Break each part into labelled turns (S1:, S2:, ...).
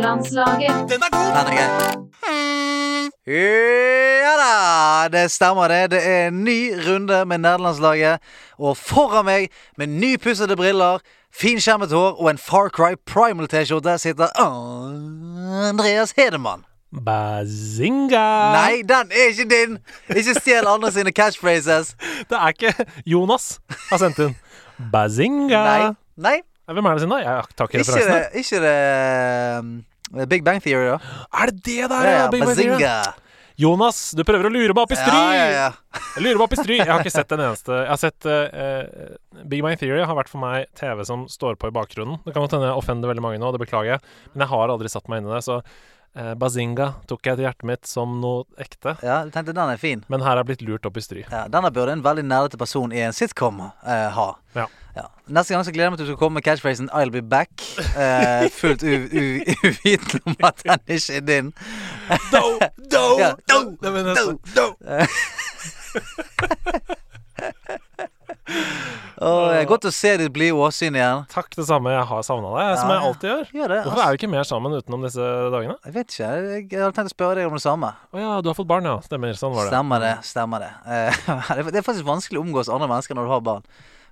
S1: Landslaget.
S2: Den er god!
S3: Ja, det er gøy. Ja da, det stemmer det. Det er en ny runde med nederlandslaget. Og foran meg, med nypussede briller, finskjermet hår og en Far Cry Primal-T-skjorte, sitter Andreas Hedemann.
S4: Bazinga!
S3: Nei, den er ikke din! Ikke stjel andre sine catchphrases.
S4: Det er ikke Jonas har sendt inn. Bazinga!
S3: Nei. Nei,
S4: Hvem er det sin, da? Jeg tar
S3: ikke
S4: ikke
S3: det,
S4: referansene.
S3: ikke det um, Big Bang Theory, da.
S4: Er det det der,
S3: Ja, ja,
S4: Big Bang Theory?
S3: Bazinga.
S4: Jonas, du prøver å lure meg opp i stry!
S3: Ja, ja, ja.
S4: Jeg lurer meg opp i stry. Jeg har ikke sett en eneste Jeg har sett eh, eh, Big Bang Theory har vært for meg TV som står på i bakgrunnen. Det kan godt hende jeg offender veldig mange nå, det beklager jeg, men jeg har aldri satt meg inn i det. Så eh, Bazinga tok jeg til hjertet mitt som noe ekte,
S3: ja, du tenkte den er fin.
S4: men her er jeg blitt lurt opp i stry.
S3: Ja, denne burde en veldig nerdete person i en sitcom eh, ha.
S4: Ja.
S3: Neste gang så gleder jeg meg til du skal komme med catchphrasen 'I'll be back'. eh, fullt u- u- uvitende om at den ikke er din.
S4: Do, do,
S3: Ja.
S4: do, det var nesten-
S3: Og, eh, godt å se ditt blide åsyn igjen.
S4: Takk, det samme. Jeg har savna deg, som
S3: Ja,
S4: jeg
S3: ja. altså.
S4: alltid gjør.
S3: Gjør det.
S4: Hvorfor
S3: ass.
S4: er vi ikke mer sammen utenom disse dagene?
S3: Jeg vet ikke. Jeg, jeg hadde tenkt å spørre deg om det samme.
S4: Å ja, du har fått barn, ja. Stemmer. Sånn var det.
S3: Stemmer det. stemmer Det Eh, det er- Det er faktisk vanskelig å omgås andre mennesker når du har barn.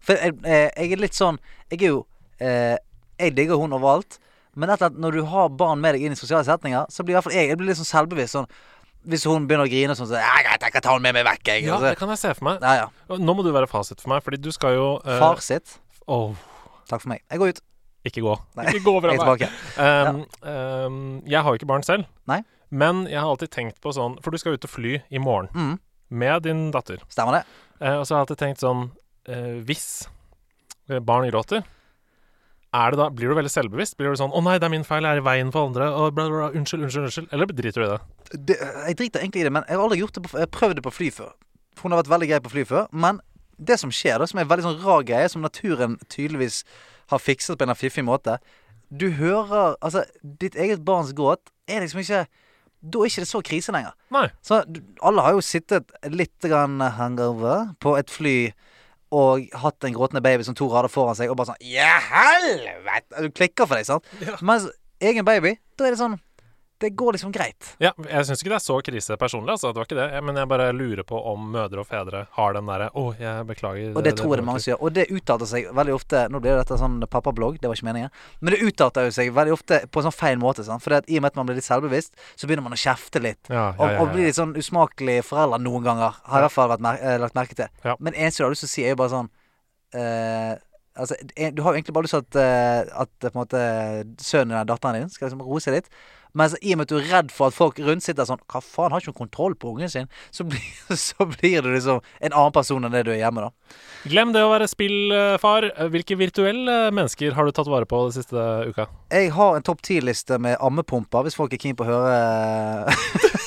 S3: For jeg, eh, jeg er litt sånn Jeg er jo eh, Jeg digger hun overalt, men etter at når du har barn med deg inn i sosiale setninger, så blir i hvert fall jeg Jeg blir litt sånn selvbevisst. Sånn, hvis hun begynner å grine og sånn, så «Ja, greit, jeg kan ta hun med meg vekk. Jeg.
S4: Ja,
S3: Og
S4: det
S3: så,
S4: kan jeg se for meg.
S3: ja, ja.
S4: Nå må du være fasit for meg, fordi du skal jo eh,
S3: Far sitt.
S4: åh,
S3: Takk for meg. Jeg går ut.
S4: ikke gå.
S3: Nei,
S4: Ikke gå
S3: Jeg
S4: fra
S3: er
S4: meg.
S3: tilbake.
S4: Um, um, jeg har jo ikke barn selv,
S3: Nei.
S4: men jeg har alltid tenkt på sånn For du skal ut og fly i morgen
S3: Mm,
S4: med din datter.
S3: stemmer det?
S4: Eh, og så har jeg alltid tenkt sånn eh, Hvis eh, barn gråter, er det da, blir du veldig selvbevisst? Blir du sånn 'Å nei, det er min feil, jeg er i veien for andre', og bla, bla, bla, unnskyld, unnskyld, unnskyld. Eller driter du i det?
S3: det, jeg driter egentlig i det, men jeg har aldri gjort det på, jeg prøvd det på fly før. Hun har vært veldig grei på fly før, men det som skjer, da, som er en veldig sånn rar greie, som naturen tydeligvis har fikset på en eller annen fiffig måte Du hører Altså, ditt eget barns gråt er liksom ikke Da er ikke det så krise lenger.
S4: Nei.
S3: Så du- alle har jo sittet litt grann hangover på et fly og hatt en gråtende baby som to rader foran seg, og bare sånn Ja, helvete! Du klikker for deg, sant?
S4: Ja.
S3: Mens egen baby, da er det sånn Det går liksom greit.
S4: Ja, jeg syns ikke det er så krise personlig, altså. Det var ikke det. Jeg- Men jeg bare lurer på om mødre og fedre har den derre 'Å, jeg beklager'.
S3: Og det, tror jeg det er mange som gjør. Og det uttalte seg veldig ofte Nå blir dette sånn pappablogg, det var ikke meningen. Men det uttalte jo seg veldig ofte på en sånn feil måte. Sant? For i og med at man blir litt selvbevisst, så begynner man å kjefte litt.
S4: Ja,
S3: Og,
S4: ja, ja,
S3: og blir
S4: ja.
S3: litt sånn usmakelig forelder noen ganger. Har i hvert fall vært mer eh, lagt merke til.
S4: Ja.
S3: Men eneste du har lyst til å si, er jo bare sånn eh, Altså, en- du har jo egentlig bare lyst til at, eh, at eh, på en måte sønnen eller datteren din skal liksom roe seg litt. Men så, i og med at du er redd for at folk rundt sitter sånn Hva faen, har ikke hun kontroll på ungen sin? Så blir, så blir du liksom en annen person enn det du er hjemme, da.
S4: Glem det å være spillfar. Hvilke virtuelle mennesker har du tatt vare på den siste uka?
S3: Jeg har en topp 10-liste med ammepumper, hvis folk er keen på å høre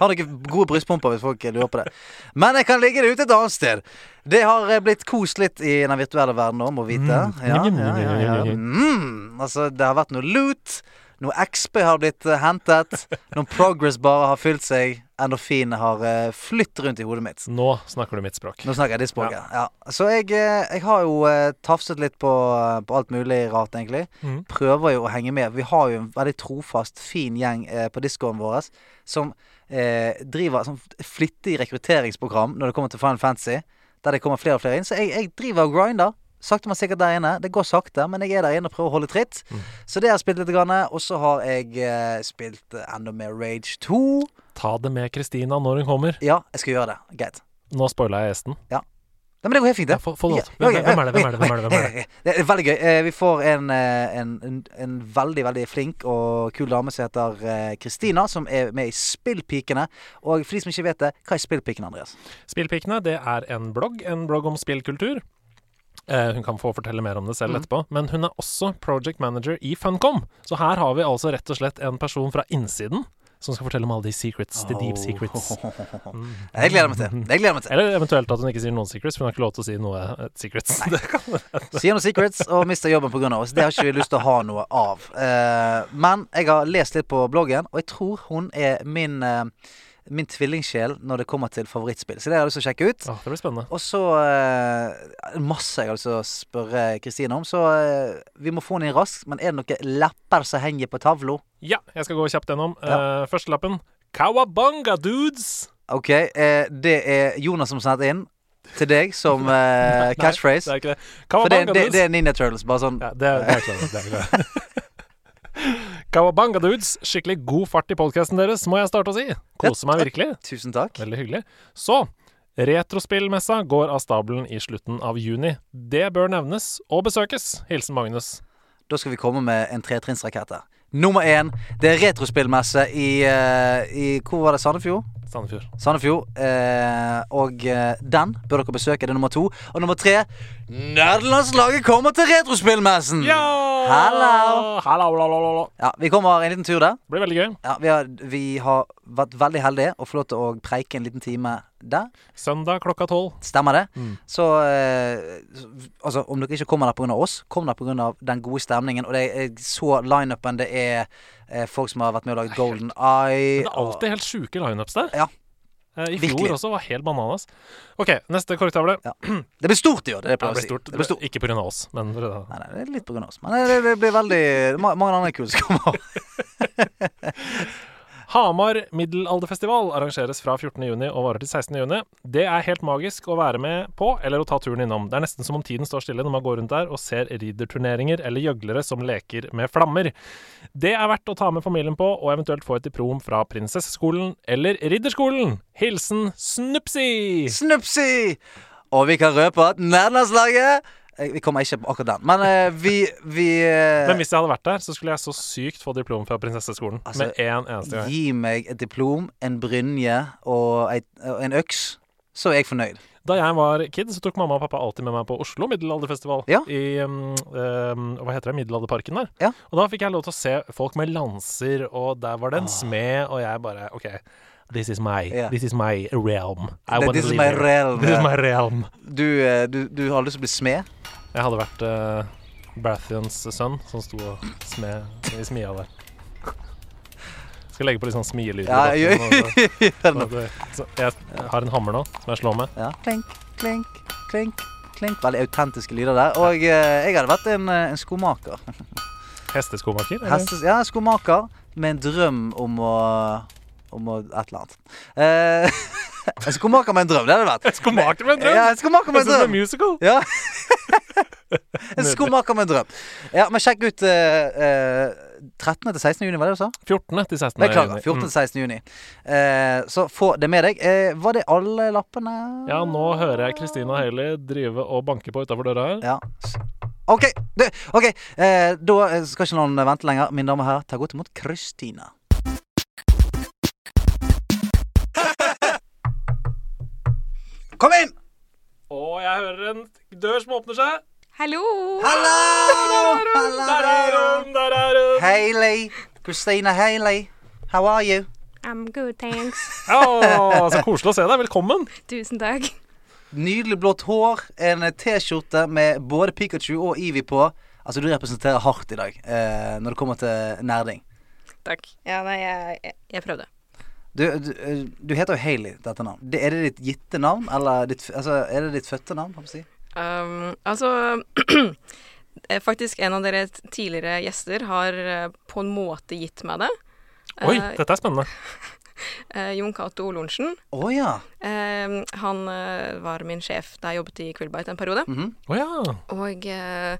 S3: Har dere gode brystpumper, hvis folk lurer på det. Men jeg kan ligge det ute et annet sted. Det har eh, blitt kost litt i den virtuelle verden nå, må vite. Ja, ja, ja, ja. Mm, altså, det har vært noe loot. Noe XP har blitt eh, hentet. Noen progress bare har fylt seg. Endorfinene har eh, flytt rundt i hodet mitt.
S4: Nå snakker du mitt språk.
S3: Nå snakker jeg ditt språk, ja. ja. Så jeg, eh, jeg har jo eh, tafset litt på, eh, på alt mulig rart, egentlig.
S4: Mhm.
S3: Prøver jo å henge med. Vi har jo en veldig trofast, fin gjeng eh, på discoen vår som eh, driver sånn flittig rekrutteringsprogram når det kommer til Final Fantasy. Der det kommer flere og flere inn. Så jeg, jeg driver og grinder. Sakte, men sikkert der inne. Det går sakte, men jeg er der inne og prøver å holde tritt. Så det har jeg spilt litt. grann, Og så har jeg eh, spilt eh, enda mer Rage 2.
S4: Ta det med Kristina når hun kommer.
S3: Ja, jeg skal gjøre det. Greit.
S4: Nå spoila jeg gjesten.
S3: Nei, men det går helt fint, det.
S4: Ja, få- få det
S3: Ja,
S4: opp. Hvem-
S3: ja, ja,
S4: hvem er det? Hvem
S3: ja,
S4: er det? Hvem er det? Hvem er
S3: ja, ja. Det er veldig gøy. Eh, Vi får en, eh, en, en, en veldig, veldig flink og kul dame som heter eh, Kristina, som er med i Spillpikene. Og for de som ikke vet det, hva er Spillpikene, Andreas?
S4: Spillpikene, det er en blogg. En blogg om spillkultur. Eh, hun kan få fortelle mer om det
S3: Mm.
S4: selv etterpå. Men hun er også project manager i Funcom. Så her har vi altså rett og slett en person fra innsiden som skal fortelle om alle de secrets. The deep secrets.
S3: Jeg gleder meg til. Jeg gleder meg til.
S4: Eller eventuelt at hun ikke sier noen secrets, for hun har ikke lov til å si noe eh, secrets. Det kan
S3: Sier noe secrets og mister jobben pga. oss. Det har ikke vi lyst til å ha noe av. Eh, Men jeg har lest litt på bloggen, og jeg tror hun er min eh, min tvillingsjel når det kommer til favorittspill. Så det har jeg lyst til å sjekke ut.
S4: Åh, det blir spennende.
S3: Og så eh, masse jeg har lyst til å spørre Kristine om, så eh, vi må få den inn raskt. Men er det noen lepper som henger på tavla?
S4: Ja, jeg skal gå kjapt gjennom. Eh, første lappen. Kawabanga dudes!
S3: OK, eh, det er Jonas som sendte inn til deg som eh,
S4: Nei,
S3: catchphrase.
S4: Det er ikke det.
S3: For det,
S4: Kawabanga
S3: det,
S4: dudes.
S3: det er Ninja Turtles. Bare sånn
S4: Ja, det, er- det er klart. Det er klart. Kawabanga dudes, skikkelig god fart i podkasten deres, må jeg starte å si. Koser meg virkelig.
S3: tusen takk.
S4: Veldig hyggelig. Så Retrospillmessa går av stabelen i slutten av juni. Det bør nevnes og besøkes. Hilsen Magnus.
S3: Da skal vi komme med en tretrinnsrakett her. Nummer én, det er retrospillmesse i, eh, i Hvor var det? Sandefjord?
S4: Sandefjord.
S3: Sandefjord. Eh, og eh, den bør dere besøke. Det er nummer to. Og nummer tre Nerdelandslaget kommer til Retrospillmessen!
S4: Ja!
S3: Hallo!
S4: Hallo, hallo, hallo, hallo.
S3: Ja, vi kommer en liten tur der.
S4: Det blir veldig gøy.
S3: Ja, vi, har, vi har vært veldig heldige og fått lov til å preike en liten time der.
S4: Søndag klokka tolv.
S3: Stemmer det?
S4: Mm.
S3: Så eh, altså, om dere ikke kommer der pga. oss, kom der pga. den gode stemningen. Og det er så lineupen. Det er eh, folk som har vært med og laget Golden Eye.
S4: Det er
S3: og-
S4: alltid helt sjuke lineups der.
S3: Ja.
S4: Eh, I
S3: Virkelig.
S4: fjor også var helt bananas. OK, neste korktavle.
S3: Det blir stort i år. Det, er det jeg
S4: Det
S3: pleier å
S4: ble
S3: si.
S4: stort.
S3: Det blir stort.
S4: Ikke pga. oss, men
S3: Nei, nei, det er litt pga. oss. Men det, det blir veldig ma- Mange andre kule som kommer.
S4: Hamar middelalderfestival arrangeres fra 14.6 og varer til 16.6. Det er helt magisk å være med på, eller å ta turen innom. Det er nesten som om tiden står stille når man går rundt der og ser ridderturneringer eller gjøglere som leker med flammer. Det er verdt å ta med familien på, og eventuelt få et diplom fra prinsesseskolen eller ridderskolen. Hilsen Snupsi!
S3: Snupsi! Og vi kan røpe at nærlandslaget Eh, Vi kommer ikke på akkurat den, men eh, vi, vi eh,
S4: Men hvis jeg hadde vært der, så skulle jeg så sykt få diplom fra prinsesseskolen.
S3: Altså,
S4: med en eneste gang.
S3: Gi meg et diplom, en brynje og ei, og en øks, så er jeg fornøyd.
S4: Da jeg var kid, så tok mamma og pappa alltid med meg på Oslo middelalderfestival.
S3: Ja.
S4: I um, um, hva heter det, middelalderparken der.
S3: Ja.
S4: Og da fikk jeg lov til å se folk med lanser, og der var det en
S3: Ah.
S4: smed, og jeg bare OK. This is my,
S3: Ja.
S4: this is my realm. I
S3: That
S4: wanna
S3: is
S4: live
S3: my
S4: here.
S3: realm,
S4: This
S3: ja.
S4: is my realm.
S3: Du, eh, du, du har lyst til å bli smed?
S4: Jeg hadde vært uh, Brathians sønn som sto og smed i smia der. Skal legge på litt sånn smielyd.
S3: Ja, gjør-
S4: Så, så jeg har en hammer nå som jeg slår med.
S3: Ja. Klink, klink, klink, klink. Veldig autentiske lyder der. Og eh, jeg hadde vært en, eh, en skomaker.
S4: Hesteskomaker? eller?
S3: Hestes, ja, skomaker med en drøm om å Om å et eller annet. Eh, en skomaker med en drøm, det hadde det vært.
S4: Skomaker med en drøm!
S3: Ja, en skomaker med en
S4: Høres ut som
S3: drøm.
S4: en musical.
S3: Ja. en skomaker med en drøm. Ja, men sjekk ut eh, eh, 13. til 16. juni, var det du sa?
S4: 14. til 16.
S3: Beklager.
S4: juni.
S3: 14. til 16. juni. Eh, så få det med deg. Eh, var det alle lappene?
S4: Mm. Ja, nå hører jeg Kristina Haley drive og banke på utafor døra her.
S3: Ja. S- OK, det, ok, eh, da eh, skal ikke noen vente lenger. Mine damer og herrer, ta godt imot Kristina. Kom inn!
S4: Og jeg hører en dør som åpner seg.
S1: Hallo!
S3: Hallo!
S4: Der er hun! Der er hun!
S3: Hayley. Christina Hayley. How are you?
S1: I'm good, thanks.
S4: Å, så koselig å se deg. Velkommen.
S1: Tusen takk.
S3: Nydelig blått hår, en T-skjorte med både Pikachu og Evie på. Altså, du representerer hardt i dag eh, når det kommer til nerding.
S1: Takk. Ja, nei, jeg, jeg, jeg prøvde.
S3: Du, du, eh, du heter jo Hayley til etternavn. Det- Er det ditt gitte navn, eller ditt, f- altså, er det ditt fødte navn? Kan man si?
S1: Um, altså eh, Faktisk, en av dere t- tidligere gjester har eh, på en måte gitt meg det.
S4: Oi,
S1: Eh,
S4: dette er spennende.
S1: eh, Jon Cato Lorentzen.
S3: Å ja.
S1: Eh, han eh, var min sjef da jeg jobbet i Krillbite en periode.
S3: Mhm.
S4: Å ja.
S1: Og eh,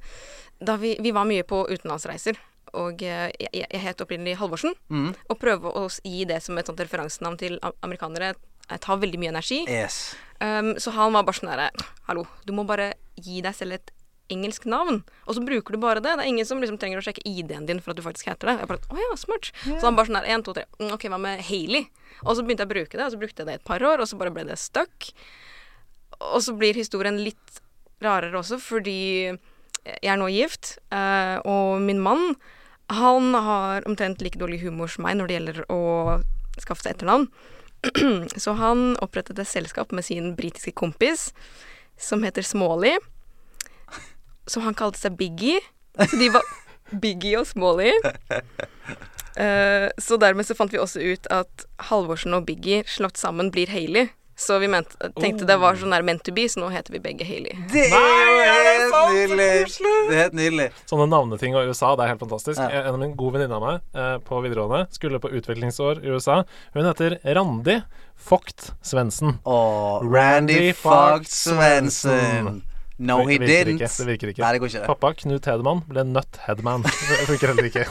S1: da vi, vi var mye på utenlandsreiser. Og eh, jeg, jeg- jeg het opprinnelig Halvorsen.
S3: Mhm.
S1: Å prøve å s- gi det som et sånt referansenavn til am- amerikanere eh, tar veldig mye energi.
S3: Yes.
S1: Um, så han var bare sånn herre Hallo, du må bare gi deg selv et engelsk navn. Og så bruker du bare det. Det er ingen som liksom trenger å sjekke ID-en din for at du faktisk heter det. Jeg bare, å ja, smart. Så han bare sånn her, én, to, tre. Mm, OK, hva med Hailey? Og så begynte jeg å bruke det, og så brukte jeg det et par år, og så bare ble det stuck. Og så blir historien litt rarere også, fordi jeg er nå gift, eh, og min mann, han har omtrent like dårlig humor som meg når det gjelder å skaffe seg etternavn. Så han opprettet et selskap med sin britiske kompis, som heter Smalley. Så han kalte seg Biggie. Så de var Biggie og Smalley. Eh, så dermed så fant vi også ut at Halvorsen og Biggie slått sammen blir Hailey. Så vi ment, tenkte det var sånn der meant to be, så nå heter vi begge Hailey.
S3: Det
S4: Nei, er det
S3: er jo
S4: sant?
S3: helt nydelig!
S4: Så koselig!
S3: Det er helt nydelig.
S4: Sånne navneting og USA, det er helt fantastisk. Eh,
S3: Ja.
S4: En av mine gode venninner av meg eh, på videregående skulle på utviklingsår i USA. Hun heter Randi Vogt Svendsen.
S3: Og Randy Fogg Svendsen. No, he
S4: Det virker
S3: didn't.
S4: ikke, det virker ikke.
S3: Nei, det går ikke det.
S4: Pappa Knut Hedemann ble Nut Headman. Det funker heller ikke.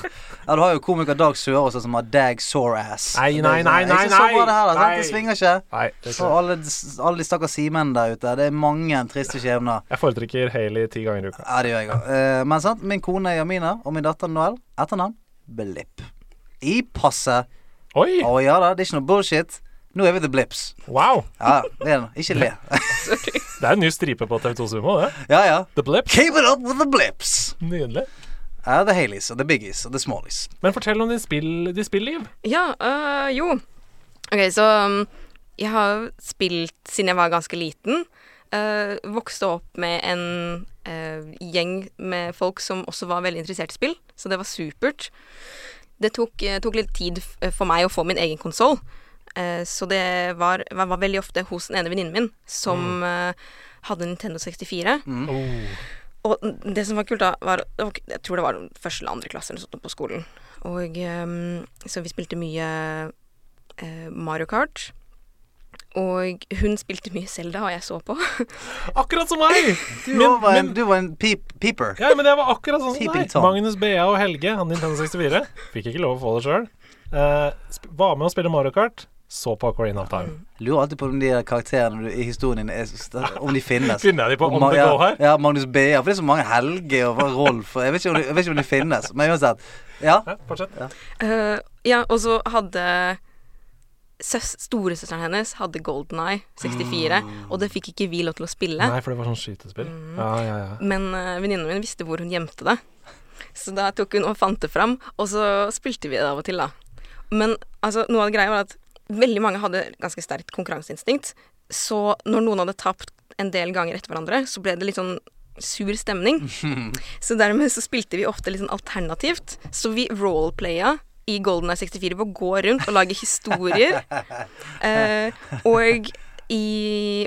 S3: Ja, du har jo komiker Dag Søre også, som har Dag Sore Ass.
S4: Nei,
S3: Det er
S4: nei,
S3: sånn-
S4: nei,
S3: Det er
S4: nei,
S3: Ikke så bra det her, da. sant?
S4: nei.
S3: Det svinger ikke.
S4: Nei, det er
S3: For
S4: ikke.
S3: alle, alle de stakkars simenn der ute. Det er mange triste skjebner.
S4: Jeg foretrekker Hailey ti ganger i uka.
S3: Ja, det gjør jeg òg. Eh, men sant, min kone er Jamina, og min datter Noel. Etternavn Blipp. I passet.
S4: Oi!
S3: Å ja da, det er ikke noe bullshit. Nå er vi The Blips.
S4: Wow!
S3: Ja, det er det. Ikke le.
S4: Det er en ny stripe på TV2 Sumo, det.
S3: Ja, ja.
S4: The Blips.
S3: Keep it up with the blips.
S4: Nydelig.
S3: Ja, the Haleys og the Biggies og the Smallies.
S4: Men fortell om ditt spill, ditt spilliv.
S1: Ja, øh, jo. Ok, så um, jeg har spilt siden jeg var ganske liten. Øh, vokste opp med en øh, gjeng med folk som også var veldig interessert i spill, så det var supert. Det tok, eh, tok litt tid f- for meg å få min egen konsoll, Øh, så det var, var, var veldig ofte hos den ene venninnen min som eh, hadde Nintendo 64.
S4: Oh.
S1: Og det som var kult da, var det var ikke- Jeg tror det var første eller andre klasse eller sånt på skolen. Og ehm, så vi spilte mye eh, Mario Kart. Og hun spilte mye Selda, og jeg så på.
S4: Akkurat som meg!
S3: Du
S4: Min-
S3: var en,
S4: min-
S3: du var en peep, peeper.
S4: Ja, men jeg var akkurat sånn som
S3: Peeping
S4: deg.
S3: Tom.
S4: Magnus Bea og Helge, han Nintendo 64. Fikk ikke lov å få det sjøl. var med å spille Mario Kart. Så på Ocarina of Time.
S3: Lurer alltid på om de der karakterene du, i historien din er, så- om de finnes.
S4: Finner jeg de på on
S3: Ma-
S4: the go her?
S3: Ja, ja Magnus Bea. For det er så mange Helge og Rolf. og Jeg vet ikke om de, jeg vet ikke om de finnes. Men uansett. Ja.
S4: Ja, fortsett.
S1: Eh, ja, og så hadde søs storesøsteren hennes hadde Golden Eye 64, og det fikk ikke vi lov til å spille.
S4: Nei, for det var sånn skytespill. Ja, ja, ja.
S1: Men eh, venninnen min visste hvor hun gjemte det. Så da tok hun og fant det fram, og så spilte vi det av og til, da. Men altså, noe av det greia var at veldig mange hadde ganske sterkt konkurranseinstinkt. Så når noen hadde tapt en del ganger etter hverandre, så ble det litt sånn sur stemning. Så dermed så spilte vi ofte litt sånn alternativt. Så vi roleplaya i Golden Eye 64 på å gå rundt og lage historier. Eh, og i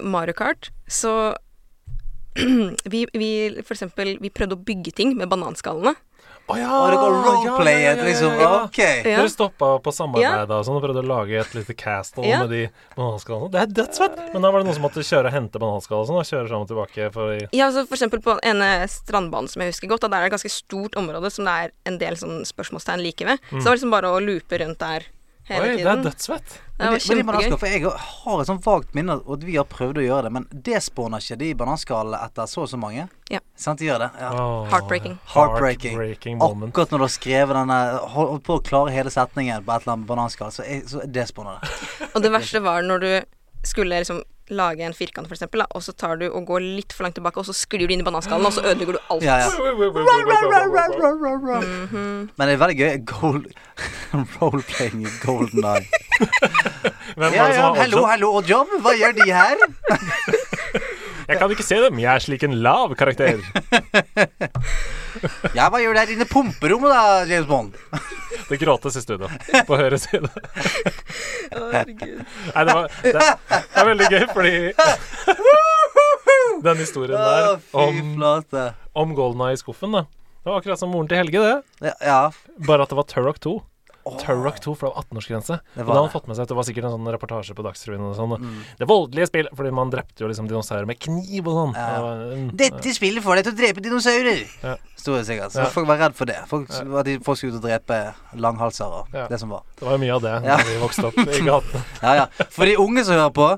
S1: Mario Kart så vi, vi, for eksempel, vi prøvde å bygge ting med bananskallene.
S4: Å Ah, ja!
S3: Og dere
S4: ja,
S3: roleplayet,
S4: ja, ja,
S3: liksom.
S4: ja, ja.
S3: OK.
S1: Ja.
S4: Dere stoppa på samarbeidet og sånn, og prøvde å lage et lite castle
S1: Ja.
S4: med de bananskallene. Det er dødsfett! Men da var det noen som måtte kjøre og hente bananskall og sånn, og kjøre fram og tilbake for i
S1: Ja, altså for eksempel på den ene strandbanen som jeg husker godt, da der er det et ganske stort område som det er en del sånn spørsmålstegn like ved. Så det var liksom bare å loope rundt der hele
S4: Oi, det er
S1: tiden.
S4: dødsfett!
S1: Det var
S3: Men de- men de bananskall-
S1: kjempegøy.
S3: For jeg har et sånn vagt minne om at vi har prøvd å gjøre det, men det spåner ikke de bananskallene etter så og så mange.
S1: Ja.
S3: Sant, de gjør det? Ja.
S4: Åh.
S1: Ah. Heartbreaking.
S3: Heartbreaking.
S4: Heartbreaking moment.
S3: Akkurat når du har skrevet denne Hold holdt på å klare hele setningen på et eller annet bananskall, så er, så er det spennende.
S1: Og det verste var når du skulle liksom lage en firkant, for eksempel, da, og så tar du og går litt for langt tilbake, og så sklir du inn i bananskallen, og så ødelegger du alt.
S3: Ja, ja.
S1: Mhm.
S3: Men det er veldig gøy. Gold Roleplaying i Golden Eye.
S4: Hvem
S3: Ja,
S4: var det som
S3: ja.
S4: var
S3: Hallo,
S4: oddjob?
S3: hallo, odd job. Hva gjør de her?
S4: Jeg kan ikke se dem, jeg er slik en lav karakter.
S3: Ja, hva gjør de her inne i pumperommet, da, James Bond?
S4: Det gråtes i studio, på høyre side.
S1: Herregud.
S4: Nei, det, var, det, det er veldig gøy, fordi den historien der
S3: Å, fy
S4: om,
S3: flate.
S4: om Golden Eye i skuffen, da. Det var akkurat som moren til Helge, det.
S3: Ja, Ja.
S4: Bare at det var Turok 2. Turok 2, for det var 18-årsgrense. Og
S3: Det
S4: da
S3: var
S4: hadde han
S3: det. Mm.
S4: fått med seg at det var sikkert en sånn reportasje på Dagsrevyen og sånn. og Det voldelige spill, fordi man drepte jo liksom dinosaurer med kniv og sånn.
S3: Ja.
S4: Det var en-
S3: Dette spillet får deg til å drepe dinosaurer.
S4: Ja.
S3: Sto det sikkert. Så
S4: Ja.
S3: folk var redd for det. Folk, At de- folk skulle ut og drepe langhalser og
S4: Ja.
S3: det som var.
S4: Det var jo mye av det
S3: Ja.
S4: da vi vokste opp i gatene.
S3: Ja, ja. For de unge som hører på,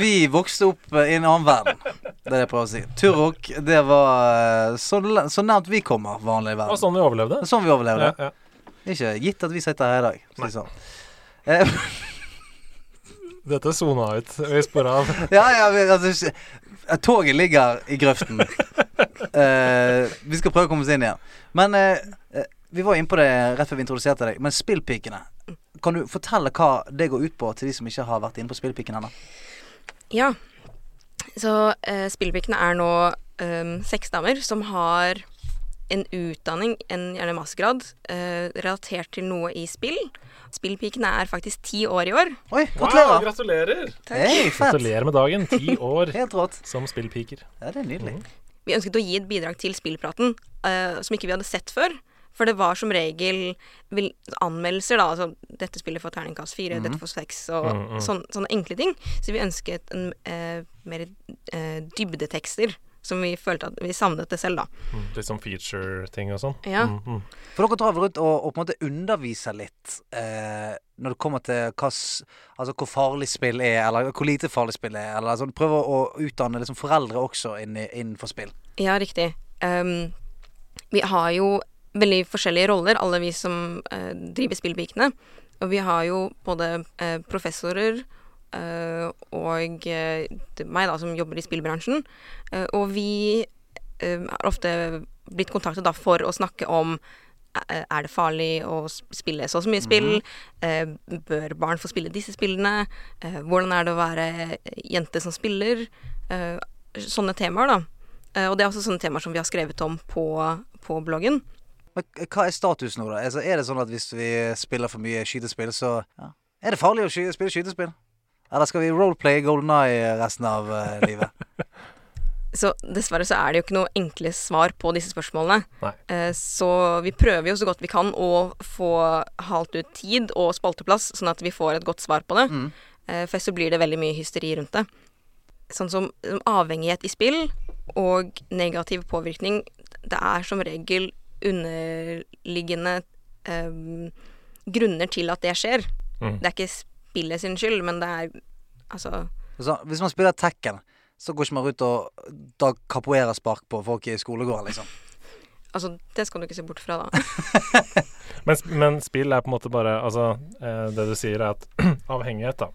S3: vi vokste opp eh, i en annen verden. Det er det jeg prøver å si. Turok, det var eh, så, la- så nært vi kommer vanlig
S4: Det var
S3: verden.
S4: sånn vi overlevde.
S3: Det er sånn vi overlevde.
S4: Ja, ja.
S3: Ikke gitt at vi sitter her i dag. for å si det Sånn. Eh,
S4: Dette sona ut. Vi spora av.
S3: ja, ja, vi- altså ikke- eh, Toget ligger i grøften. Eh, vi skal prøve å komme oss inn igjen. Men eh, eh, vi var inne på det rett før vi introduserte deg. Men Spillpikene. Kan du fortelle hva det går ut på til de som ikke har vært inne på Spillpiken ennå?
S1: Ja. eh, Så uh, spillpikene er nå ehm, seks damer som har en utdanning, en gjerne mastergrad, eh, relatert til noe i spill. Spillpikene er faktisk ti år i år.
S3: Oi,
S4: Wow,
S3: gratulerer!
S4: gratulerer!
S3: Hei, fett.
S4: Gratulerer med dagen. Ti år
S3: Helt rått.
S4: som spillpiker.
S3: Ja, det er
S4: Mhm.
S3: nydelig.
S1: Vi ønsket å gi et bidrag til spillpraten eh, som ikke vi hadde sett før. For det var som regel vil, anmeldelser, da. Altså dette spillet får terningkast fire, dette får seks, og
S4: Mm,
S1: sånn- sånne enkle ting. Så vi ønsket en, eh, mer eh, dybdetekster, som vi følte at vi savnet det selv, da.
S4: Mm, Litt sånn feature-ting og sånn.
S1: Ja.
S4: Mm, mm.
S3: For dere drar vel rundt og, og på en måte underviser litt eh, når det kommer til hva, s- altså, hvor farlig spill er, eller hvor lite farlig spill er, eller sånn. Prøver å utdanne liksom, foreldre også inn, i- innenfor spill.
S1: Ja, riktig. Ehm, vi har jo veldig forskjellige roller, alle vi som eh, driver Spillpikene. Og vi har jo både eh, professorer eh, og eh, det- meg, da, som jobber i spillbransjen. Eh, og vi eh, har ofte blitt kontaktet da for å snakke om eh, er det farlig å s- spille så og så mye spill? Eh, Bør barn få spille disse spillene? Eh, Hvordan er det å være jente som spiller? Eh, Sånne temaer, da. Eh, Og det er også sånne temaer som vi har skrevet om på, på bloggen.
S3: Men k- hva er status nå, da? Altså, er det sånn at hvis vi spiller for mye skytespill, så ja. Er det farlig å sky spille skytespill? Eller skal vi roleplay Golden Eye resten av eh, livet?
S1: Så dessverre så er det jo ikke noe enkle svar på disse spørsmålene.
S4: Nei.
S1: Eh, Så vi prøver jo så godt vi kan å få halt ut tid og spalteplass, sånn at vi får et godt svar på det.
S3: Mm.
S1: Eh, For ellers så blir det veldig mye hysteri rundt det. Sånn som som avhengighet i spill og negativ påvirkning, det er som regel underliggende eh, grunner til at det skjer.
S4: Mm.
S1: Det er ikke spillet sin skyld, men det er altså
S3: Så, hvis man spiller Tekken, så går ikke man ut og da capoeira-spark på folk i skolegården, liksom.
S1: Altså, det skal du ikke se bort fra, da.
S4: Men, sp- men spill er på en måte bare Altså, eh, det du sier er at avhengighet, da.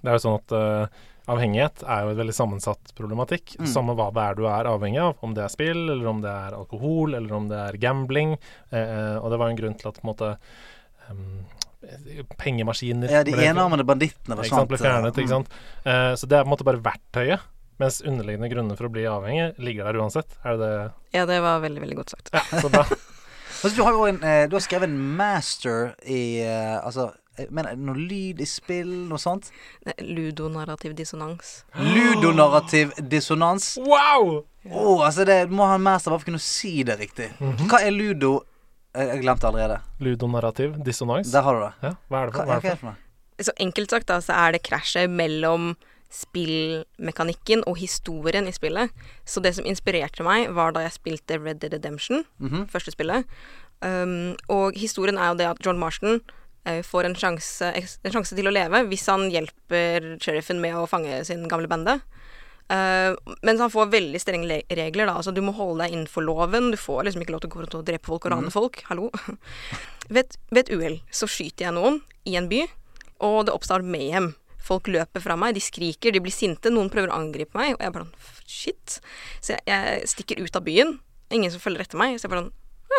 S4: Det er jo sånn at eh, avhengighet er jo et veldig sammensatt problematikk.
S3: Mm.
S4: Samme hva det er du er avhengig av, om det er spill, eller om det er alkohol, eller om det er gambling. Eh, og det var jo en grunn til at på en måte eh, Pengemaskiner
S3: Ja, de
S4: ble-
S3: enarmede bandittene var
S4: ikke sant,
S3: sant.
S4: ble fjernet,
S3: Mm.
S4: ikke sant. Eh, så det er på en måte bare verktøyet. Mens underliggende grunner for å bli avhengig ligger der uansett. Er det det?
S1: Ja, det var veldig, veldig godt sagt.
S4: Ja, så da
S3: Altså, du, har jo en, eh, du har skrevet en master i eh, Altså, jeg mener, noe lyd i spill, noe sånt?
S1: Nei, Ludonarrativ dissonans.
S3: Ludonarrativ dissonans.
S4: Wow!
S3: Å, altså det du må ha en master bare for å kunne si det riktig.
S4: Mhm.
S3: Hva er ludo Eh, Jeg glemte allerede.
S4: Ludonarrativ dissonans.
S3: Der har du det.
S4: Ja, hva er det
S3: Hva,
S4: for? Hva
S3: hva
S4: er det
S3: er
S4: for?
S3: det for noe?
S1: Så enkelt sagt, da, så er det krasjet mellom spillmekanikken og historien i spillet. Så det som inspirerte meg, var da jeg spilte Red Dead Redemption,
S3: Mhm.
S1: første spillet. Um, og historien er jo det at John Marston eh, får en sjanse, en sjanse til å leve hvis han hjelper sheriffen med å fange sin gamle bande. Eh, mens han får veldig strenge le- regler. da, altså Du må holde deg innenfor loven. Du får liksom ikke lov til å gå rundt og drepe folk og rane folk. Hallo. Ved ved et uhell så skyter jeg noen i en by, og det oppstår mayhem. Folk løper fra meg, de skriker, de blir sinte, noen prøver å angripe meg, og jeg bare sånn shit. Så jeg, jeg stikker ut av byen, ingen som følger etter meg, så jeg bare sånn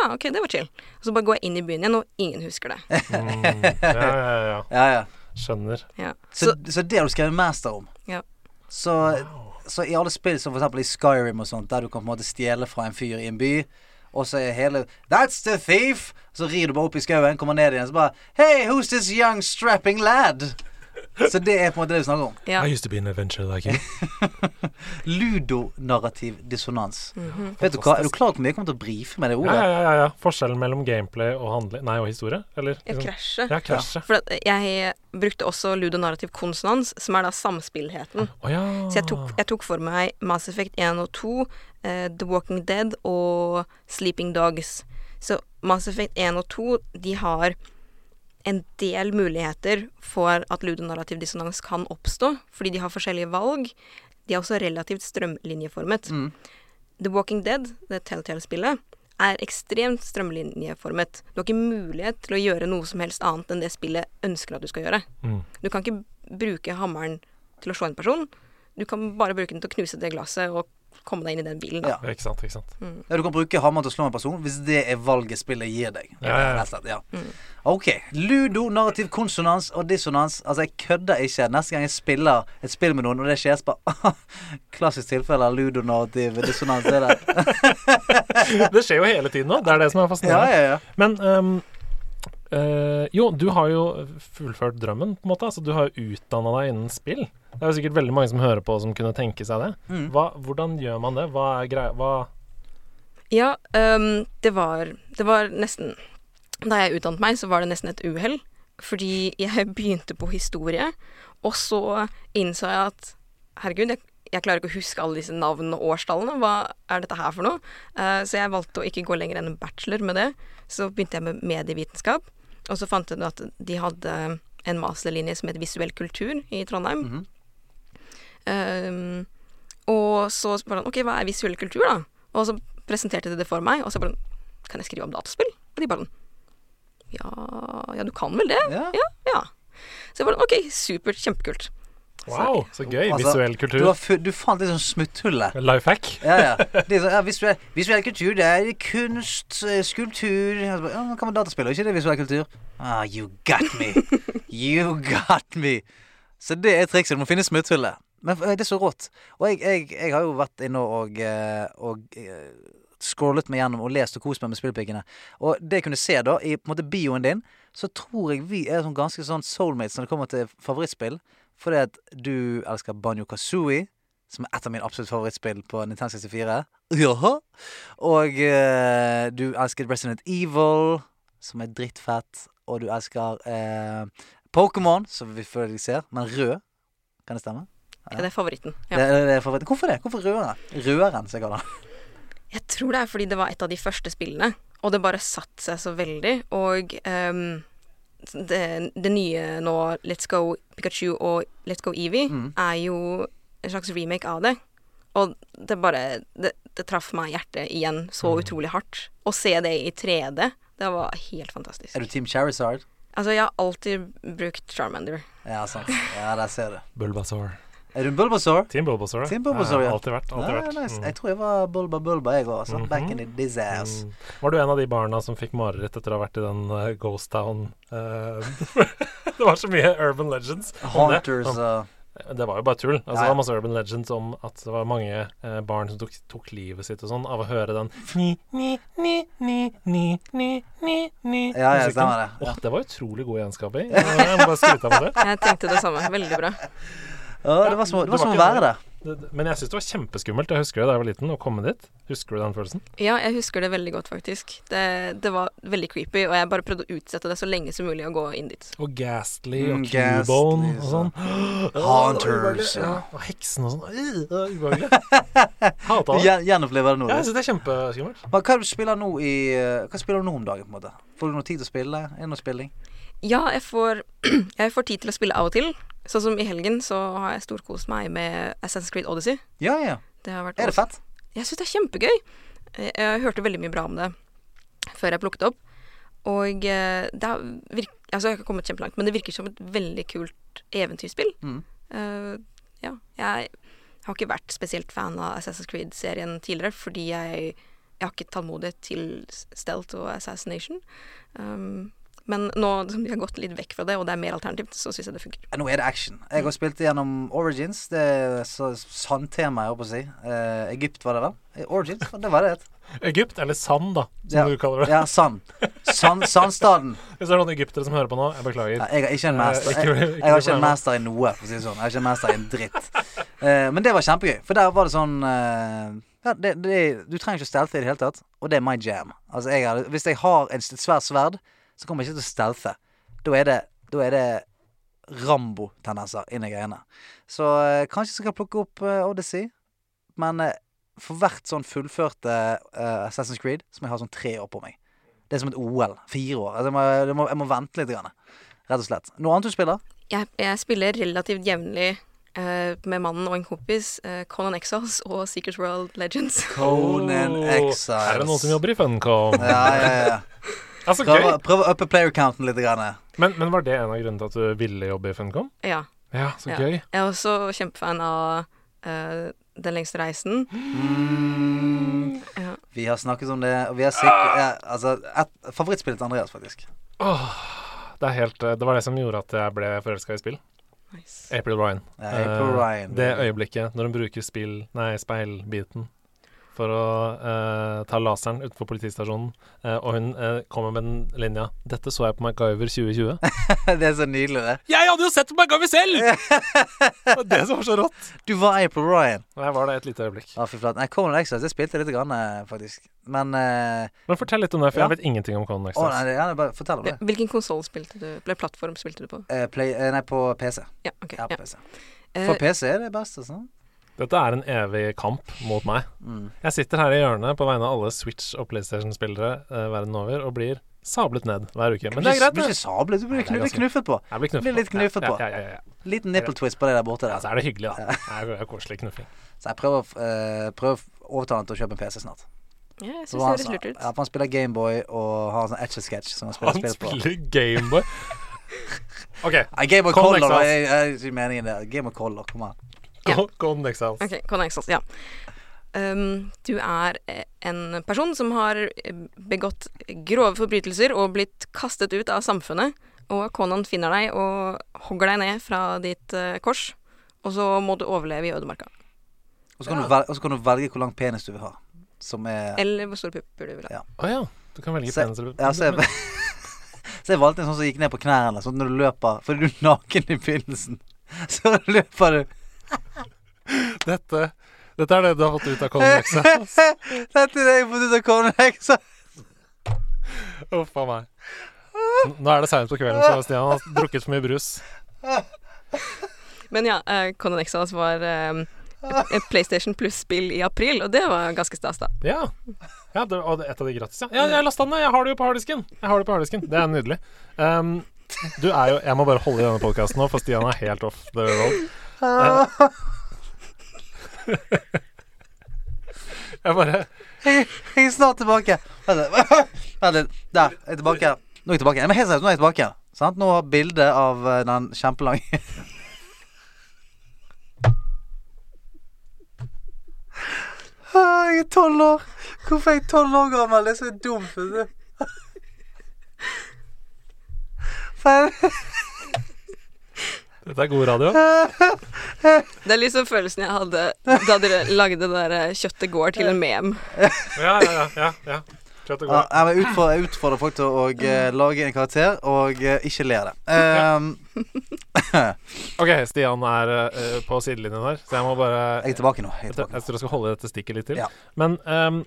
S1: ja, OK, det var chill. Og så bare går jeg inn i byen igjen, og ingen husker det.
S4: Mm, ja, ja, ja.
S3: Ja, ja.
S4: Skjønner.
S1: Ja.
S3: Så,
S1: Så,
S3: så, det har du skrevet master om?
S1: Ja.
S3: Så, så i alle spill som for eksempel i Skyrim og sånt, der du kan på en måte stjele fra en fyr i en by, og så er hele That's the thief! Så rir du bare opp i skauen, kommer ned igjen, så bare Hey, who's this young strapping lad? Så det er på en måte det du snakker om.
S1: ja.
S4: used to be an adventure like you.
S3: Ludonarrativ dissonans. Vet du hva, Er du klar over hvor mye jeg kommer til å brife med det
S4: Ja,
S3: ordet?
S4: ja, ja, ja. Forskjellen mellom gameplay og handling Nei, og historie? Eller?
S1: Jeg
S4: liksom-
S1: krasjer.
S4: Ja, krasjet.
S1: For at jeg brukte også ludonarrativ konsonans, som er da samspillheten.
S4: Å ja.
S1: Så jeg tok, jeg tok for meg Mass Effect 1 og 2, eh, The Walking Dead og Sleeping Dogs. Så Mass Effect 1 og 2, de har en del muligheter for at ludonarrativ dissonans kan oppstå, fordi de har forskjellige valg. De er også relativt strømlinjeformet.
S3: Mm.
S1: The Walking Dead, det Telltale-spillet, er ekstremt strømlinjeformet. Du har ikke mulighet til å gjøre noe som helst annet enn det spillet ønsker at du skal gjøre.
S4: Mm.
S1: Du kan ikke bruke hammeren til å slå en person. Du kan bare bruke den til å knuse det glasset og komme deg inn i den bilen. Da.
S3: Ja.
S4: Ikke sant, ikke sant.
S1: Mm.
S3: Ja, du kan bruke hammeren til å slå en person hvis det er valget spillet gir deg.
S4: Ja, ja, ja.
S3: Rett og slett, ja. OK. Ludo, narrativ konsonans og dissonans. Altså, jeg kødder ikke. Neste gang jeg spiller et spill med noen, og det skjer, så bare Klassisk tilfelle av ludo, narrativ, dissonans. Det der.
S4: Det skjer jo hele tiden nå. Det er det som
S3: Ja,
S4: er fascinerende.
S3: ja, ja.
S4: Men ehm, eh, jo, du har jo fullført drømmen, på en måte. Altså, du har jo utdanna deg innen spill. Det er jo sikkert veldig mange som hører på, som kunne tenke seg det.
S3: Mm.
S4: Hva, hvordan gjør man det? Hva er greia Hva
S1: Ja, øhm, det, var, det var nesten Da jeg utdannet meg, så var det nesten et uhell. Fordi jeg begynte på historie, og så innså jeg at herregud, jeg, jeg klarer ikke å huske alle disse navnene og årstallene. Hva er dette her for noe? Eh, så jeg valgte å ikke gå lenger enn en bachelor med det. Så begynte jeg med medievitenskap, og så fant jeg ut at de hadde en masterlinje som het visuell kultur i Trondheim.
S3: Mhm.
S1: Ehm, og så spurte han OK, hva er visuell kultur, da? Og så presenterte de det for meg, og så bare Kan jeg skrive om dataspill? Og de bare sånn, Ja, ja du kan vel det?
S3: ja.
S1: Ja. ja. Så jeg bare OK, supert, kjempekult.
S4: Wow, så gøy.
S3: Altså,
S4: Visuell
S3: Du, har
S4: kultur.
S3: fu du fant liksom smutthullet.
S4: Life hack.
S3: Ja, ja. Det er sånn, ja visuell, visuell kultur, det er kunst, eh, skulptur ja, så bare, ja, men Hva med dataspill, er ikke det visuell kultur? Ah, you got me. You got me. Så det er trikset. Du må finne smutthullet. Men eh, det er så rått. Og jeg, jeg, jeg har jo vært inne og, eh, og eh, scrollet meg gjennom og lest og kost meg med spillpikkene. Og det jeg kunne se da, i på en måte bioen din, så tror jeg vi er sånn ganske sånn soulmates når det kommer til favorittspill. Fordi at du elsker Banjo Kazooie, som er et av mine absolutt favorittspill på Nintendo 64. Jaha. Og eh, du elsker Resident Evil, som er drittfett. Og du elsker eh, Pokémon, som vi føler jeg ser, men rød. Kan det stemme?
S1: Ja, det er favoritten.
S3: Det,
S1: Ja.
S3: det, det er favoritt. Hvorfor det? Hvorfor rødere? Røderen, som jeg kaller den.
S1: Jeg tror det er fordi det var et av de første spillene, og det bare satte seg så veldig. Og ehm, det, det nye nå, Let's Go Pikachu og Let's Go Evie,
S3: Mm.
S1: er jo en slags remake av det. Og det bare Det, det traff meg i hjertet igjen så
S3: Mm.
S1: utrolig hardt. Å se det i 3D, det var helt fantastisk.
S3: Er du Team Charizard?
S1: Altså, jeg har alltid brukt Charmander.
S3: Ja, sant. Ja, der ser du.
S4: Bulbasaur.
S3: Er du en Bulbasaur?
S4: Team Bulbasaur.
S3: Team Bulbasaur, ja.
S4: Eh, Alltid vært. Alltid
S3: Nei,
S4: vært.
S3: nice.
S4: Mm. Mhm.
S3: Jeg tror jeg var Bulba Bulba, jeg òg. altså. Back in the disass.
S4: Mm. Var du en av de barna som fikk mareritt etter å ha vært i den eh, Ghost Town eh, Det var så mye Urban Legends. om det.
S3: Haunters
S4: Om-
S3: og
S4: Det var jo bare tull. Altså,
S3: Ja,
S4: Det
S3: ja.
S4: var masse Urban Legends om at det var mange eh, barn som tok, tok livet sitt og sånn av å høre den ni, ni, ni, ni, ni, ni, ni, ni,
S3: Ja, ja,
S4: musikken.
S3: stemmer det.
S4: Åh, det var utrolig god egenskap i. Jeg må bare skryte av det.
S1: Jeg tenkte det samme. Veldig bra.
S3: Ja, det var som, det var
S4: Det var
S3: som å
S4: ikke
S3: være der.
S4: Det- det- Men jeg syns det var kjempeskummelt. Jeg husker jo da jeg var liten, å komme dit. Husker du den følelsen?
S1: Ja, jeg husker det veldig godt, faktisk. Det, det var veldig creepy, og jeg bare prøvde å utsette det så lenge som mulig å gå inn dit.
S4: Og Ghastly
S3: Mm,
S4: og Cubone
S3: Ghastly,
S4: og sånn.
S3: Haunters,
S4: Ja,
S3: ja.
S4: og heksen og sånn. Øh, det er Ubehagelig. Hata
S3: Du
S4: det.
S3: gjen- Gjenopplever det nå.
S4: Ja, jeg
S3: du.
S4: synes det er kjempeskummelt.
S3: Men hva er det du spiller nå i eh, Hva spiller du nå om dagen, på en måte? Får du noe tid til å spille? Er det noe spilling?
S1: Ja, jeg får, jeg får tid til å spille av og til. Sånn som i helgen så har jeg storkost meg med Assassin's Creed Odyssey.
S3: Ja, ja.
S1: Det har vært
S3: Er det fett?
S1: Jeg syns det er kjempegøy. Jeg, jeg hørte veldig mye bra om det før jeg plukket opp. Og eh, det har virk, altså jeg har ikke kommet kjempelangt, men det virker som et veldig kult eventyrspill.
S3: Mm.
S1: Eh, ja. Jeg har ikke vært spesielt fan av Assassin's Creed-serien tidligere, fordi jeg, jeg har ikke tålmodighet til s- stealth og assassination. Um, men nå som vi har gått litt vekk fra det, og det er mer alternativt, så syns jeg det funker.
S3: Nå er det action. Jeg har spilt gjennom Origins. Det er så sandtema, jeg holdt på å si. Eh, Egypt var det vel? Eh, Origins, det var det het.
S4: Egypt, eller sand, da, som
S3: Ja.
S4: du kaller det.
S3: Ja, sand. sand. Sandstaden.
S4: Hvis det er noen egyptere som hører på nå, jeg beklager.
S3: Ja, jeg er ikke en
S4: Nei,
S3: master.
S4: Eh, ikke-
S3: Jeg,
S4: ikke
S3: jeg er ikke
S4: problem.
S3: en master i noe, for å si det sånn. Jeg er ikke en master i en dritt. Eh, men det var kjempegøy, for der var det sånn eh, ja, det, det, Du trenger ikke å stelte i det hele tatt, og det er my jam. Altså, jeg hadde- hvis jeg har en, et svært sverd, så kommer jeg ikke til å stelte. Da er det, da er det Rambo-tendenser inni greiene. Så eh, kanskje jeg skal plukke opp eh, Odyssey, men eh, for hvert sånn fullførte eh, Assassin's Creed, så må jeg ha sånn tre år på meg. Det er som et OL. Fire år. Altså, jeg, må, jeg, må, jeg må vente litt. Grann. Rett og slett. Noe annet du spiller?
S1: Jeg, jeg spiller relativt jevnlig eh, med mannen og en kompis eh, Conan Exiles og Secret World Legends.
S3: Conan
S4: Åh,
S3: Exiles.
S4: Er det noen som jobber i Funcom?
S3: Ja, ja, ja.
S4: Altså,
S3: Prøv, å-
S4: gøy.
S3: prøv å uppe player counten litt. Grann.
S4: Men, men var det en av grunnene til at du ville jobbe i Funcom?
S1: Ja.
S4: Ja, så
S1: Ja.
S4: gøy.
S1: Jeg er også kjempefan av eh, Den lengste reisen. Ja.
S3: Mm. Vi har snakket om det, og vi har sikkert ja, Altså, et, favorittspillet til Andreas, faktisk.
S4: Det, er helt, eh, det var det som gjorde at jeg ble forelska i spill.
S1: Nice.
S4: April Ryan.
S3: Ja, April
S4: Eh,
S3: Ryan.
S4: Det øyeblikket når hun bruker spill, nei, speilbiten for å eh, ta laseren utenfor politistasjonen, eh, og hun eh, kommer med den linja 'Dette så jeg på MacGyver 2020'.
S3: det er så nydelig, det.
S4: jeg hadde jo sett på MacGyver selv! det var det som var så rått.
S3: Du var April Ryan.
S4: Der var det et lite øyeblikk.
S3: Ja, fy flate. Nei, Conan Exiles, det spilte jeg litt, grann, eh, faktisk. Men eh,
S4: Men fortell litt om det, for
S3: Ja.
S4: jeg vet ingenting om Conan
S3: Å, nei,
S4: Exiles.
S3: det- ja, bare fortell om det.
S1: Hvilken konsoll spilte du Eller plattform spilte du på?
S3: Eh, play, eh, nei, på PC.
S1: Ja, ok.
S3: Ja,
S1: Ja.
S3: på PC.
S1: Eh,
S3: For PC er det beste, sånn.
S4: Dette er en evig kamp mot meg.
S3: Mm.
S4: Jeg sitter her i hjørnet på vegne av alle Switch- og PlayStation-spillere eh, verden over og blir sablet ned hver uke. Men det er greit,
S3: Du blir
S4: det.
S3: ikke sablet, du blir
S4: Nei, det er
S3: knu- litt
S4: ganske-
S3: knuffet på.
S4: Jeg blir
S3: Blir litt knuffet på.
S4: Ja, ja, ja, ja.
S3: Liten nipple twist på det der borte
S4: Ja,
S3: der.
S4: så er det hyggelig, da. Det er jo koselig knuffing.
S3: Så jeg prøver, å, eh, prøver å overtale han til å kjøpe en PC snart.
S1: Eh, ja, jeg
S3: Så
S1: syns det
S3: han
S1: høres
S3: sa-
S1: lurt ut.
S3: Ja, for han spiller Gameboy og har en sånn etch-a-sketch som han spiller
S4: Han
S3: spill på.
S4: spiller Gameboy. OK.
S3: Nei, Gameboy
S4: Colin
S3: Color,
S4: Exiles.
S3: jeg, jeg, jeg, meningen der. Gameboy Color, kom an.
S1: Ja.
S4: Go, go next house.
S1: Ok, Conan Exiles, ja. Ehm, du er eh, en person som har eh, begått grove forbrytelser og blitt kastet ut av samfunnet. Og Conan finner deg og hogger deg ned fra ditt eh, kors. Og så må du overleve i ødemarka.
S3: Og så kan, du velge, og så kan du velge hvor lang penis du vil ha. Som er
S1: Eller hvor store pupper du vil ha.
S4: Å ja. Du kan velge
S3: Se-
S4: penis eller
S3: Ja, så jeg, så jeg valgte en sånn som gikk ned på knærne, sånn at når du løper Fordi du er naken i begynnelsen. Så løper du
S4: Dette, dette er det du har fått ut av Conan Exiles.
S3: Dette er det jeg har fått ut av Conan Exiles.
S4: Uff a meg. N- Nå er det seint på kvelden, så Stian har drukket for mye brus.
S1: Men ja, eh, Conan Exiles var eh, et- et PlayStation Plus-spill i april, og det var ganske stas, da.
S4: Ja. ja det, og det- et av de gratis, ja. ja jeg lasta den ned. Jeg har det jo på harddisken. Jeg har det på harddisken. Det er nydelig. Um, du er jo Jeg må bare holde i denne podkasten nå, for Stian er helt off the road. Jeg bare
S3: Jeg, jeg er snart tilbake. Vent litt. Vent litt. Der. Jeg er tilbake. Nå er jeg tilbake. Men helt seriøst, nå er jeg tilbake. Sant? Nå har jeg bilde av eh, den kjempelange Ah, Jeg er tolv år. Hvorfor er jeg tolv år gammel? Det er så dumt. vet du. For jeg-
S4: Dette er god radio.
S1: Det er liksom følelsen jeg hadde da dere lagde det der eh, 'Kjøttet går' til en mem.
S4: Ja, ja, ja. ja, ja. Kjøtt og
S3: Ja,
S4: god.
S3: jeg utfordrer, jeg utfordrer folk til å eh, lage en karakter og eh, ikke le av det. Ehm,
S4: OK, Stian er eh, på sidelinjen her, så jeg må bare
S3: jeg er tilbake nå. Jeg er
S4: Jeg tror
S3: tilbake.
S4: jeg tror jeg skal holde dette stikket litt til.
S3: Ja.
S4: Men ehm,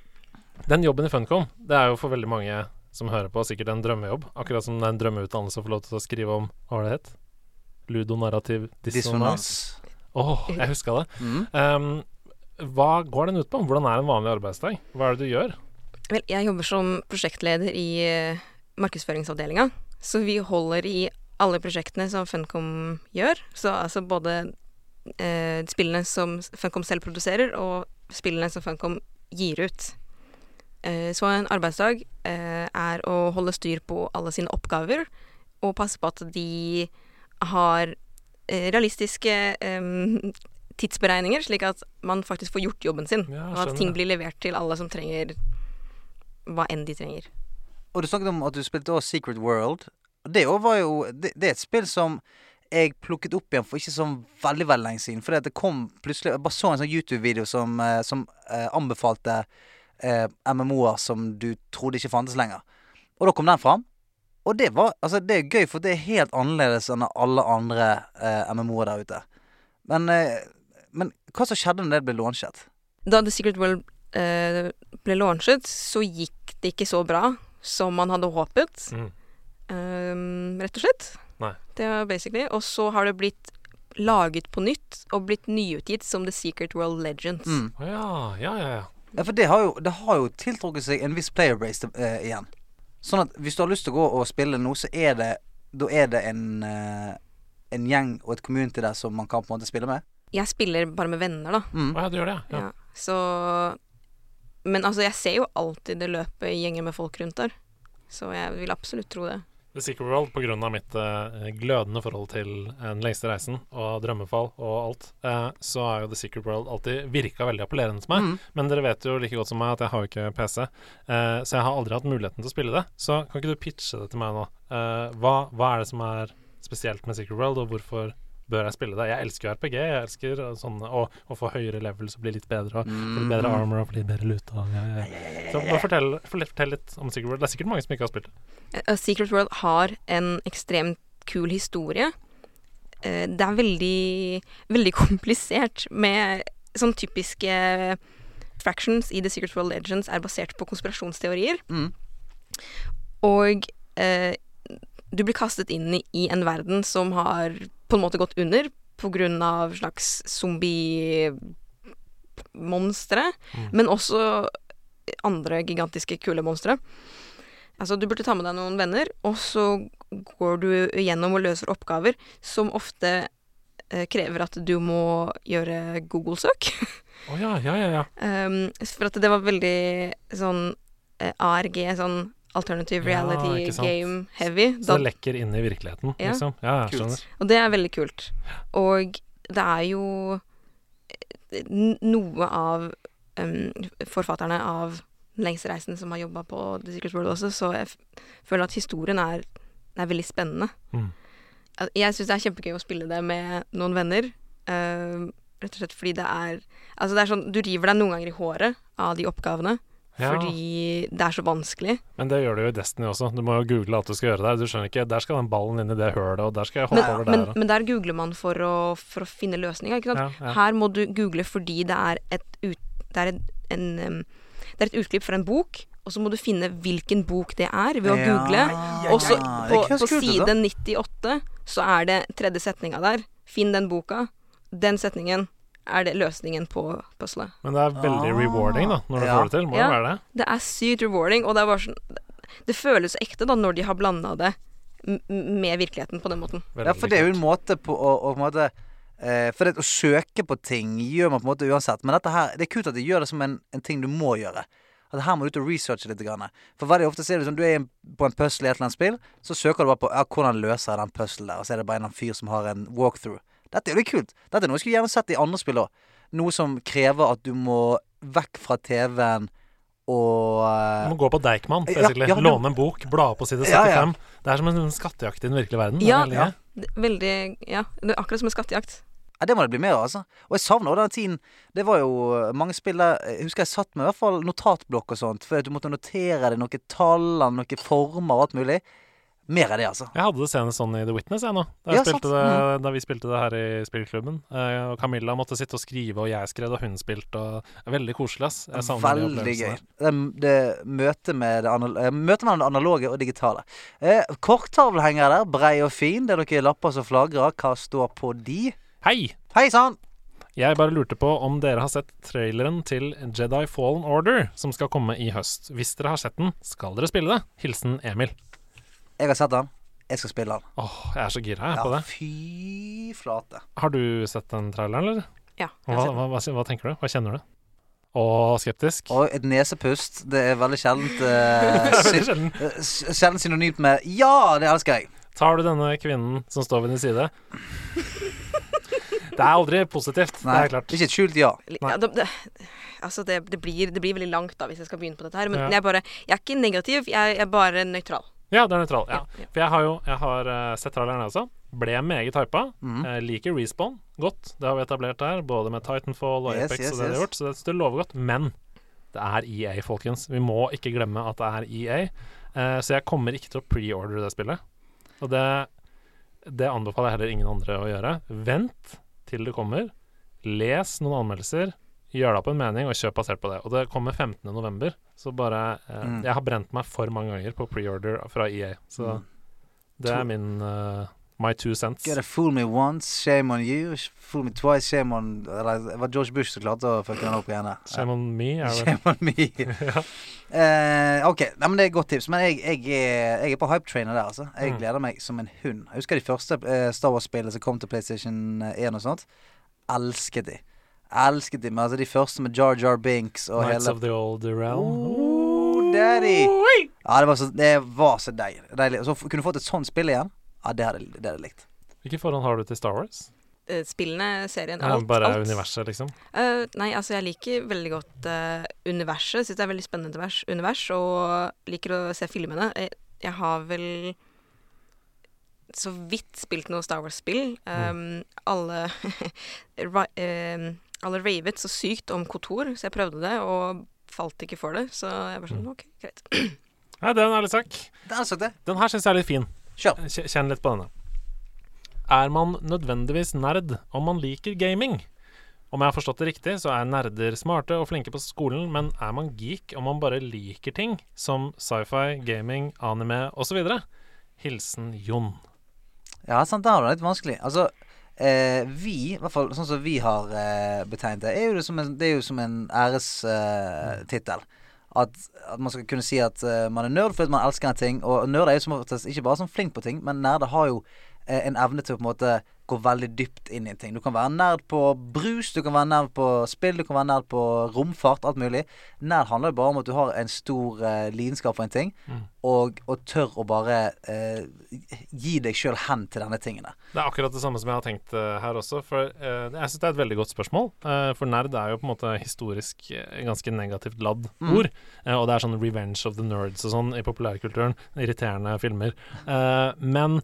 S4: den jobben i Funcom, det er jo for veldig mange som hører på, sikkert en drømmejobb. Akkurat som det er en drømmeutdannelse å få lov til å skrive om Hva var det det het? Ludonarrativ dissonans.
S3: Dissonans.
S4: Åh, jeg huska det.
S3: Mm.
S4: Ehm, hva går den ut på? Hvordan er en vanlig arbeidsdag? Hva er det du gjør?
S1: Vel, jeg jobber som prosjektleder i eh, markedsføringsavdelinga, så vi holder i alle prosjektene som Funcom gjør. Så altså både eh, spillene som Funcom selv produserer, og spillene som Funcom gir ut. Eh, så en arbeidsdag eh, er å holde styr på alle sine oppgaver, og passe på at de har eh, realistiske eh, tidsberegninger, slik at man faktisk får gjort jobben sin.
S4: Ja,
S1: Og at
S4: skjønner.
S1: ting blir levert til alle som trenger hva enn de trenger.
S3: Og du snakket om at du spilte også Secret World. Og Det òg var jo det, det er et spill som jeg plukket opp igjen for ikke så veldig veldig lenge siden. Fordi at det kom plutselig Jeg bare så en sånn YouTube-video som, eh, som eh, anbefalte eh, MMO-er som du trodde ikke fantes lenger. Og da kom den fram. Og det var Altså, det er gøy, for det er helt annerledes enn alle andre eh, MMO-er der ute. Men, eh, men hva som skjedde når det ble launchet?
S1: Da The Secret World eh, ble launchet, så gikk det ikke så bra som man hadde håpet.
S4: Mm.
S1: Ehm, rett og slett.
S4: Nei.
S1: Det var basically. Og så har det blitt laget på nytt og blitt nyutgitt som The Secret World Legends.
S3: Mm.
S4: Å ja, ja, ja, ja.
S3: Ja, for det har jo, det har jo tiltrukket seg en viss player base til- eh, igjen. Sånn at hvis du har lyst til å gå og spille noe, så er det Da er det en eh, En gjeng og et community der som man kan på en måte spille med.
S1: Jeg spiller bare med venner, da.
S3: Mm.
S4: Å ja, du gjør det, ja. ja.
S1: Ja. Så Men altså, jeg ser jo alltid det løpet i gjenger med folk rundt der. Så jeg vil absolutt tro det.
S4: The Secret World pga. mitt eh, glødende forhold til eh, Den lengste reisen og drømmefall og alt, eh, så har jo The Secret World alltid virka veldig appellerende til meg.
S3: Mm.
S4: Men dere vet jo like godt som meg at jeg har jo ikke PC, eh, så jeg har aldri hatt muligheten til å spille det. Så kan ikke du pitche det til meg nå? Eh, hva, hva er det som er spesielt med Secret World, og hvorfor bør jeg spille det? Jeg elsker jo RPG, jeg elsker eh, sånne Å, å få høyere levels og bli litt bedre, og
S3: Mm.
S4: få litt bedre armor og få litt bedre luta. Ja, ja, ja. Så bare fortell, fortell litt om Secret World. Det er sikkert mange som ikke har spilt det.
S1: A Secret World har en ekstremt kul historie. Eh, Det er veldig, veldig komplisert med sånn typiske fractions i The Secret World Legends er basert på konspirasjonsteorier.
S3: Mm.
S1: Og eh, du blir kastet inn i- i en verden som har på en måte gått under på grunn av slags zombie-monstre,
S4: Mm.
S1: men også andre gigantiske kule monstre. Altså, du burde ta med deg noen venner, og så går du gjennom og løser oppgaver som ofte eh, krever at du må gjøre Google-søk.
S4: Å ja, ja, ja, ja.
S1: Um, for at det var veldig sånn eh, ARG, sånn alternative
S4: Ja,
S1: reality
S4: ikke sant.
S1: game heavy.
S4: Så
S1: Da,
S4: det lekker inn i virkeligheten,
S1: Ja.
S4: liksom. Ja, jeg
S3: Kult.
S4: skjønner.
S1: og det er veldig kult. Og det er jo eh, n- noe av um, forfatterne av Den lengste reisen som har jobba på The Secret World også, så jeg f føler at historien er, er veldig spennende.
S4: Mm.
S1: Al- Jeg syns det er kjempegøy å spille det med noen venner. eh, rett og slett fordi det er Altså, det er sånn Du river deg noen ganger i håret av de oppgavene.
S4: Ja.
S1: Fordi det er så vanskelig.
S4: Men det gjør du jo i Destiny også. Du må jo google alt du skal gjøre der. Du skjønner ikke Der skal den ballen inn i det hølet, og der skal jeg hoppe
S1: Men,
S4: over
S1: men,
S4: der. og-
S1: men der googler man for å, for å finne løsninger. Ikke sant?
S4: Ja, ja.
S1: Her må du google fordi det er et, ut, det er en, en, um, det er et utklipp fra en bok, og så må du finne hvilken bok det er, ved å google. Og så på, på side 98 så er det tredje setninga der. Finn den boka. Den setningen er det løsningen på puzzlet.
S4: Men det er veldig
S3: Ah.
S4: rewarding, da, når du
S3: Ja.
S4: får det til. Må jo
S1: Ja.
S4: være det.
S1: Det er sykt rewarding, og det er bare sånn Det føles ekte da når de har blanda det m- med virkeligheten på den måten.
S4: Veldig
S3: Ja, for det er jo en
S4: kult.
S3: måte på å, å på en måte, eh, For det å søke på ting gjør man på en måte uansett. Men dette her, det er kult at de gjør det som en, en ting du må gjøre. At her må du ut og researche litt. Grann. For veldig ofte så er det sånn, du er i en- på en puzzle i et eller annet spill, så søker du bare på ja, hvordan løser jeg den puzzlen der, og så er det bare en eller annen fyr som har en walkthrough. Dette er jo litt kult. Dette er noe jeg skulle gjerne sett i andre spill òg. Noe som krever at du må vekk fra TV-en og eh,
S4: Du må gå på Deichman,
S3: Ja,
S4: basically.
S3: ja, det-
S4: Låne en bok, bla opp på side 75.
S3: Ja, ja.
S4: Det er som en sånn skattejakt i den virkelige verden.
S1: Ja.
S4: det er veldig gøy.
S1: Det- Veldig Ja, det er akkurat som en skattejakt.
S3: Ja, Det må det bli mer av, altså. Og jeg savner også den tiden. Det var jo eh, mange spill der Jeg husker jeg satt med i hvert fall notatblokk og sånt, for du måtte notere deg noen tall, noen former og alt mulig. Mer av det, altså.
S4: Jeg hadde det senest sånn i The Witness, jeg nå. Da, jeg
S3: Ja, sant.
S4: spilte
S1: Mm.
S4: det, da vi spilte det her i spillklubben. Eh, og Camilla måtte sitte og skrive, og jeg skrev, og hun spilte, og det er Veldig koselig, ass. Jeg savner de
S3: Veldig
S4: opplevelsene
S3: gøy.
S4: der.
S3: Det, det møtet med det, anal eh, møtet mellom det analoge og digitale. Eh, Korktavlhengere der, brei og fin. Det er noen lapper som flagrer. Hva står på de?
S4: Hei!
S3: Hei sann!
S4: Jeg bare lurte på om dere har sett traileren til Jedi Fallen Order, som skal komme i høst. Hvis dere har sett den, skal dere spille det. Hilsen Emil.
S3: Jeg har sett den. Jeg skal spille den.
S4: Åh, jeg er så gira jeg på
S3: Ja,
S4: det.
S3: fy flate.
S4: Har du sett den traileren, eller?
S1: Ja.
S4: Hva,
S1: jeg har sett
S4: hva, hva, hva tenker du? Hva kjenner du? Å, skeptisk?
S3: Og et nesepust. Det er veldig sjeldent eh,
S4: Veldig sjelden.
S3: Eh, s- Sjelden synonymt med 'ja, det elsker jeg'.
S4: Tar du denne kvinnen som står ved din side? Det er aldri positivt, det
S3: Nei,
S4: er klart.
S3: ikke et skjult ja.
S1: det.
S4: Nei.
S1: Ja, det, det altså, det, det, blir, det blir veldig langt da hvis jeg skal begynne på dette her, men
S4: Ja.
S1: jeg, bare, jeg er ikke negativ, jeg, jeg er bare nøytral.
S4: Ja, det er nøytral. Ja.
S1: Ja.
S4: For jeg har jo jeg har eh, sett traileren jeg også. Ble meget hypa.
S3: Mhm.
S4: Eh, liker Respawn godt. Det har vi etablert der, både med Titanfall og
S3: Yes,
S4: Apex
S3: yes,
S4: og det de har
S3: yes.
S4: gjort, så det, så det lover godt. Men det er EA, folkens. Vi må ikke glemme at det er EA. Eh, så jeg kommer ikke til å preordre det spillet. Og det, det anbefaler jeg heller ingen andre å gjøre. Vent til det kommer. Les noen anmeldelser. Gjør deg opp en mening og kjøp basert på det. Og det kommer 15.11., så bare eh,
S3: Mm.
S4: Jeg har brent meg for mange ganger på preorder fra EA, så
S3: Mm.
S4: det er min eh, My two cents.
S3: Gotta fool me once, shame on you. Fool me twice, shame on Eller det var George Bush som klarte å fucke den opp igjen. der.
S4: Shame on me.
S3: Ja.
S4: Er det.
S3: Shame on me. Eh, ok, Nei, men det er et godt tips. Men jeg, jeg, er, jeg er på hypetrainer der, altså. Jeg
S4: Mm.
S3: gleder meg som en hund. Jeg husker de første eh, Star Wars-spillene som kom til PlayStation 1 og sånt. Elsket de. Elsket de. Men altså de første med Jar Jar Binks og
S4: Nights
S3: hele
S4: of the Old Realm.
S3: Oh, daddy.
S4: Oi!
S3: Ja, det var så, det var så deilig. deilig. Og Så f- kunne du fått et sånt spill igjen. Ja, det hadde det hadde jeg likt.
S4: Hvilket forhold har du til Star Wars?
S1: Eh, Spillene, serien,
S4: Alt,
S1: alt.
S4: Bare
S1: alt.
S4: universet, liksom?
S1: Eh, nei, altså jeg liker veldig godt eh, universet. Syns det er veldig spennende univers, univers og liker å se filmene. Jeg, jeg har vel så vidt spilt noe Star Wars-spill. Um, alle, ra eh, alle ravet så sykt om Kotor, så jeg prøvde det og falt ikke for det. Så jeg bare sånn OK, greit.
S4: Nei, det er en ærlig sak.
S3: Det hadde sagt det.
S4: Den her syns jeg er litt fin.
S3: Kjør.
S4: Kj- Kjenn litt på denne. Er man nødvendigvis nerd om man liker gaming? Om jeg har forstått det riktig, så er nerder smarte og flinke på skolen, men er man geek om man bare liker ting som sci-fi, gaming, anime osv.? Hilsen Jon.
S3: Ja, sant, det var litt vanskelig. Altså, eh, vi, i hvert fall sånn som vi har eh, betegnet det, er jo det, som en, det er jo som en ærestittel. Eh, tittel. at, at man skal kunne si at eh, man er nerd fordi man elsker en ting. Og nerd er jo som oftest ikke bare sånn flink på ting, men nerder har jo eh, en evne til å på en måte gå veldig dypt inn i en ting. Du kan være nerd på brus, du kan være nerd på spill, du kan være nerd på romfart, alt mulig. Nerd handler jo bare om at du har en stor eh, lidenskap for en ting, og, og tør å bare eh, gi deg sjøl hen til denne tingen der.
S4: Det er akkurat det samme som jeg har tenkt eh, her også. For eh, jeg syns det er et veldig godt spørsmål. eh, for nerd er jo på en måte historisk eh, ganske negativt ladd
S3: Mm.
S4: ord. eh, og det er sånn 'revenge of the nerds' og sånn i populærkulturen. Irriterende filmer. Eh, men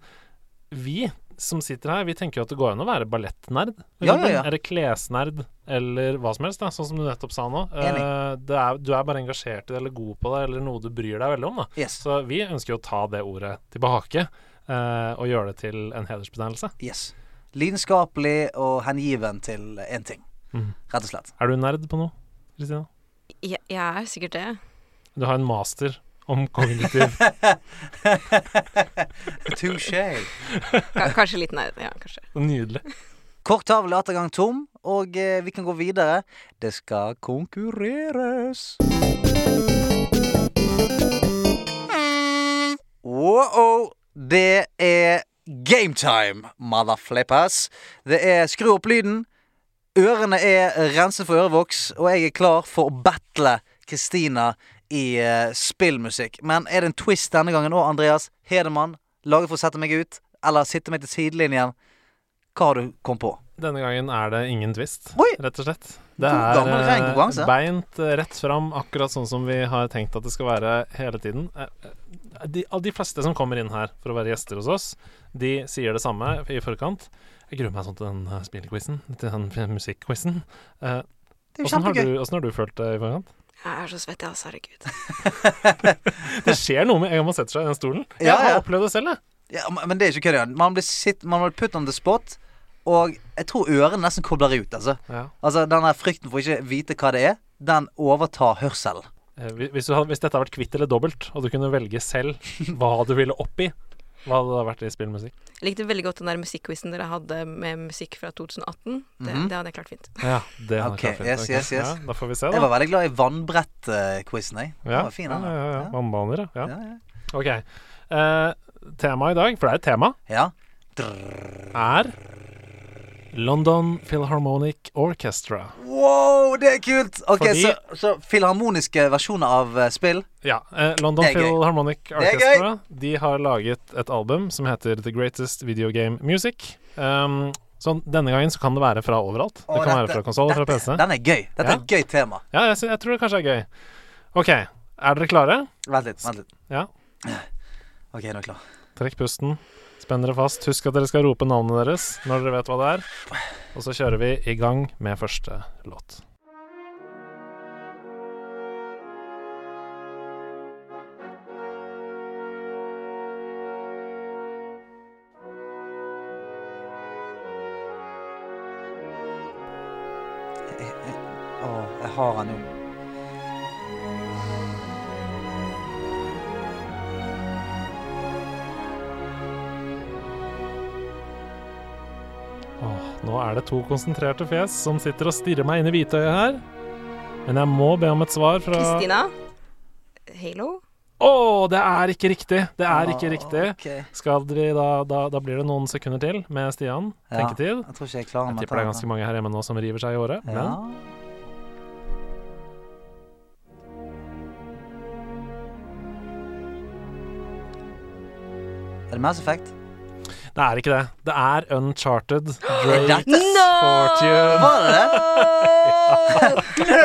S4: vi som sitter her, vi tenker jo at det går an å være ballettnerd. for
S3: Ja, ja,
S4: eksempel,
S3: ja.
S4: Eller klesnerd, eller hva som helst, da, sånn som du nettopp sa nå. Eh, det er, du er bare engasjert i det, eller god på det, eller noe du bryr deg veldig om. da
S3: Yes.
S4: Så vi ønsker jo å ta det ordet tilbake, eh, og gjøre det til en hedersbetegnelse.
S3: yes. Lidenskapelig og hengiven til én ting,
S4: Mhm.
S3: rett og slett.
S4: Er du nerd på noe, Kristina?
S1: Jeg, jeg er sikkert det.
S4: Du har en master om kognitiv
S3: Touché.
S1: Ka- Kanskje litt nerd. Ja, kanskje.
S4: Nydelig.
S3: Kort tavle er atter gang tom, og eh, vi kan gå videre. Det skal konkurreres. Wow, det er gametime, motherflippers. Det er skru opp lyden. Ørene er renset for ørevoks, og jeg er klar for å battle Kristina i eh, spillmusikk. Men er det en twist denne gangen òg, Andreas Hedemann? Laget for å sette meg ut, eller sitte meg til sidelinjen? Hva har du kommet på?
S4: Denne gangen er det ingen twist,
S3: Oi!
S4: rett og slett.
S3: God
S4: Det er
S3: gammel, ren
S4: eh,
S3: konkurranse.
S4: beint eh, rett fram, akkurat sånn som vi har tenkt at det skal være hele tiden. Eh, eh, De, av de fleste som kommer inn her for å være gjester hos oss, de sier det samme i forkant. Jeg gruer meg sånn til den eh, spillquizen, til den eh, musikkquizen. Eh,
S3: Det er jo
S4: Åssen har,
S3: kjempegøy.
S4: du- hvordan har du følt det i forkant?
S1: Jeg er så svett, jeg, altså. Herregud.
S4: Det skjer noe med en gang man setter seg i den stolen.
S3: Ja,
S4: Jeg har
S3: ja.
S4: opplevd det selv, jeg.
S3: Ja, men- men det er ikke kødd igjen. Man blir sitt, man blir put on the spot, og jeg tror ørene nesten kobler ut. Altså,
S4: Ja.
S3: altså den der frykten for ikke vite hva det er, den overtar hørselen.
S4: Eh, hvi- Hvis, du hadde, hvis dette hadde vært kvitt eller dobbelt, og du kunne velge selv hva du ville opp i, hva hadde det vært i spillmusikk?
S1: Jeg likte veldig godt den der musikkquizen dere hadde med musikk fra 2018. Det,
S3: Mhm.
S1: det hadde jeg klart fint.
S4: Ja, det hadde
S3: Ok,
S4: klart fint.
S3: yes,
S4: Ok,
S3: yes, yes.
S4: Ja, da får vi se,
S3: Jeg var
S4: da.
S3: veldig glad i vannbrett-quizen, jeg. Den
S4: Ja,
S3: var fin,
S4: ja,
S3: den.
S4: ja, ja, ja.
S3: Ja.
S4: Vannbaner, ja. ja.
S3: Ja, ja.
S4: Ok. Eh, Temaet i dag, for det er et tema,
S3: ja.
S4: er London Philharmonic Orchestra.
S3: Wow, det er kult! Ok,
S4: Fordi-
S3: så, så filharmoniske versjoner av eh, spill.
S4: Ja. eh, London
S3: Det er gøy.
S4: Philharmonic
S3: er
S4: Orchestra De har laget et album som heter The Greatest Video Game Music. Um, så denne gangen så kan det være fra
S3: Å,
S4: overalt. det kan
S3: dette-
S4: være fra konsoll, fra PC.
S3: Den er gøy. Dette er
S4: Ja.
S3: et gøy tema.
S4: Ja, jeg, sy- jeg tror det kanskje er gøy. OK, er dere klare?
S3: Vent litt. vent litt
S4: Ja.
S3: Ok, nå er jeg klar.
S4: Trekk pusten. Spenn dere fast. Husk at dere skal rope navnet deres når dere vet hva det er. Og så kjører vi i gang med første låt.
S3: Jeg, jeg, å, jeg har han nå.
S4: Åh, nå er det to konsentrerte fjes som sitter og stirrer meg inn i hvitøyet her. Men jeg må be om et svar fra Å,
S1: Kristina? Halo?
S4: det er ikke riktig! Det er ikke
S3: Å,
S4: riktig.
S3: ok.
S4: Skal vi da, da, da blir det noen sekunder til med Stian.
S3: Ja.
S4: Tenketid.
S3: Jeg tror ikke jeg klarer
S4: Jeg
S3: meg.
S4: tipper det er ganske mange her hjemme nå som river seg i håret. Men
S3: Ja. Er det Mass Effect?
S4: Det er ikke det. Det er Uncharted.
S3: Er
S4: Great
S3: dette-
S4: Fortune.
S3: Var det det?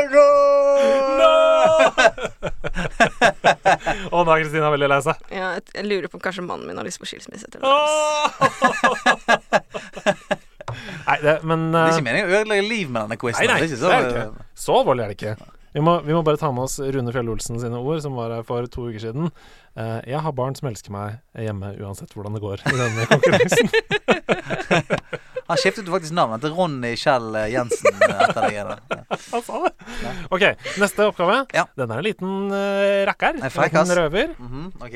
S4: No! Å, nå er Kristina veldig lei seg.
S1: Ja, jeg- jeg lurer på om kanskje mannen min har lyst på skilsmisse. Til
S4: Nei, det, men
S3: Det er
S4: eh,
S3: ikke meningen å ødelegge liv med denne quizen.
S4: Nei, nei,
S3: det er ikke
S4: det er det
S3: så...
S4: ikke. Så alvorlig er det ikke. Vi må, vi må bare ta med oss Rune Fjell-Olsen sine ord, som var her for to uker siden. Eh, jeg har barn som elsker meg hjemme uansett hvordan det går i denne konkurransen.
S3: Han skiftet jo faktisk navnet til Ronny Kjell Jensen eh, etter det. greiene. Ja.
S4: Han sa det. OK, neste oppgave.
S3: Ja.
S4: Den er en liten uh, rakker.
S3: En frekk,
S4: liten
S3: ass.
S4: røver.
S3: Mhm, ok.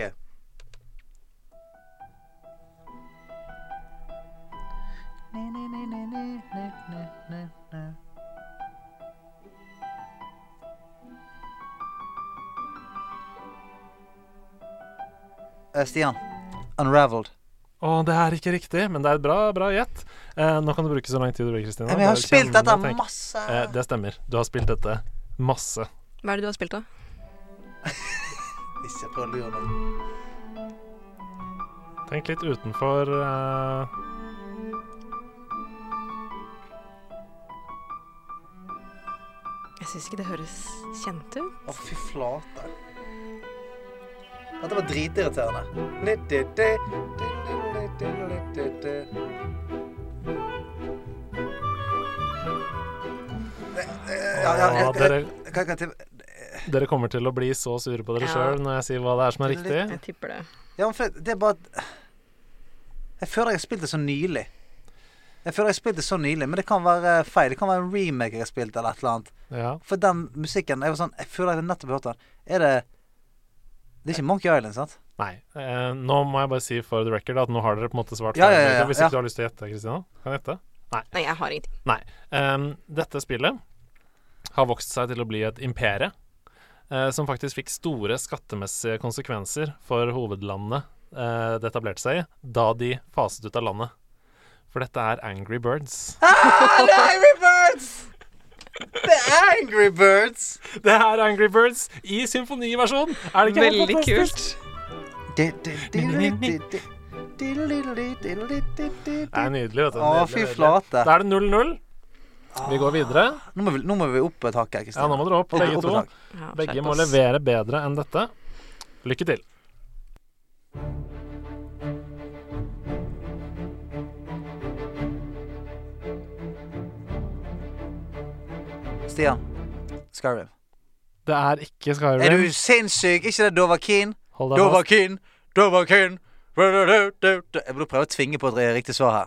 S3: Eh, Stian. Unraveled.
S4: Å, det er ikke riktig, men det er et bra, bra gjett. Eh, nå kan du bruke så lang tid du vil, Kristina.
S3: Äh, Men jeg har
S4: Det er
S3: spilt dette
S4: kjempetenk.
S3: masse.
S4: Eh, det stemmer. Du har spilt dette masse.
S1: Hva er det du har spilt, da?
S3: Hvis jeg prøver å lure deg.
S4: Tenk litt utenfor eh,
S1: Jeg syns ikke det høres kjent ut.
S3: Å, fy flate. Dette var dritirriterende. Ja, ja, jeg-
S4: og dere,
S3: Kan, kan, jeg-
S4: dere kommer til å bli så sure på dere
S1: Ja.
S4: sjøl når jeg sier hva det er som er riktig.
S1: Jeg tipper det.
S3: ja, men for det er bare at- Jeg føler jeg har spilt det så nylig. Jeg føler jeg har spilt det så nylig, men det kan være feil. Det kan være en remake jeg har spilt, eller et eller annet.
S4: Ja.
S3: For den musikken Jeg, var sånn, jeg føler jeg nettopp har hørt den. Er det Det er ikke Monkey Island, sant?
S4: Nei. Eh, nå må jeg bare si for the record at nå har dere på en måte svart
S3: Ja,
S4: feil.
S3: ja, ja, ja.
S4: Hvis
S3: Ja.
S4: ikke du har lyst til å gjette, Kristina. Kan jeg gjette?
S1: Nei, jeg har ingenting.
S4: Nei. Ehm, dette spillet har vokst seg til å bli et imperie, eh, som faktisk fikk store skattemessige konsekvenser for hovedlandet eh, det etablerte seg i, da de faset ut av landet. For dette er Angry Birds.
S3: Ah, det er Angry Birds! Det er Angry Birds!
S4: Det er Angry Birds i symfoniversjon! Er det ikke helt
S1: Veldig
S4: fantastisk?
S1: kult.
S3: Det er
S4: Det er nydelig, vet du.
S3: Å,
S4: Nydelig,
S3: fy
S4: nydelig.
S3: flate.
S4: Da er altså, det 0-0. Vi går videre.
S3: Nå må vi, nå må vi opp et hakk her,
S4: Ja, nå
S3: Kristin.
S4: må dere opp,
S3: Opp- opp
S4: begge
S3: et
S4: to.
S3: hakk.
S1: Ja,
S4: Begge
S1: skjerp
S4: må
S1: oss.
S4: levere bedre enn dette. Lykke til.
S3: Stian. Skyrim.
S4: Det er ikke
S3: Er
S4: Skyrim.
S3: du sinnssyk? Ikke det Dovahkiin?
S4: Hold deg fast.
S3: Dovahkiin, Dovahkiin Du-du-du-du-du. Jeg burde prøve å tvinge på et riktig svar her.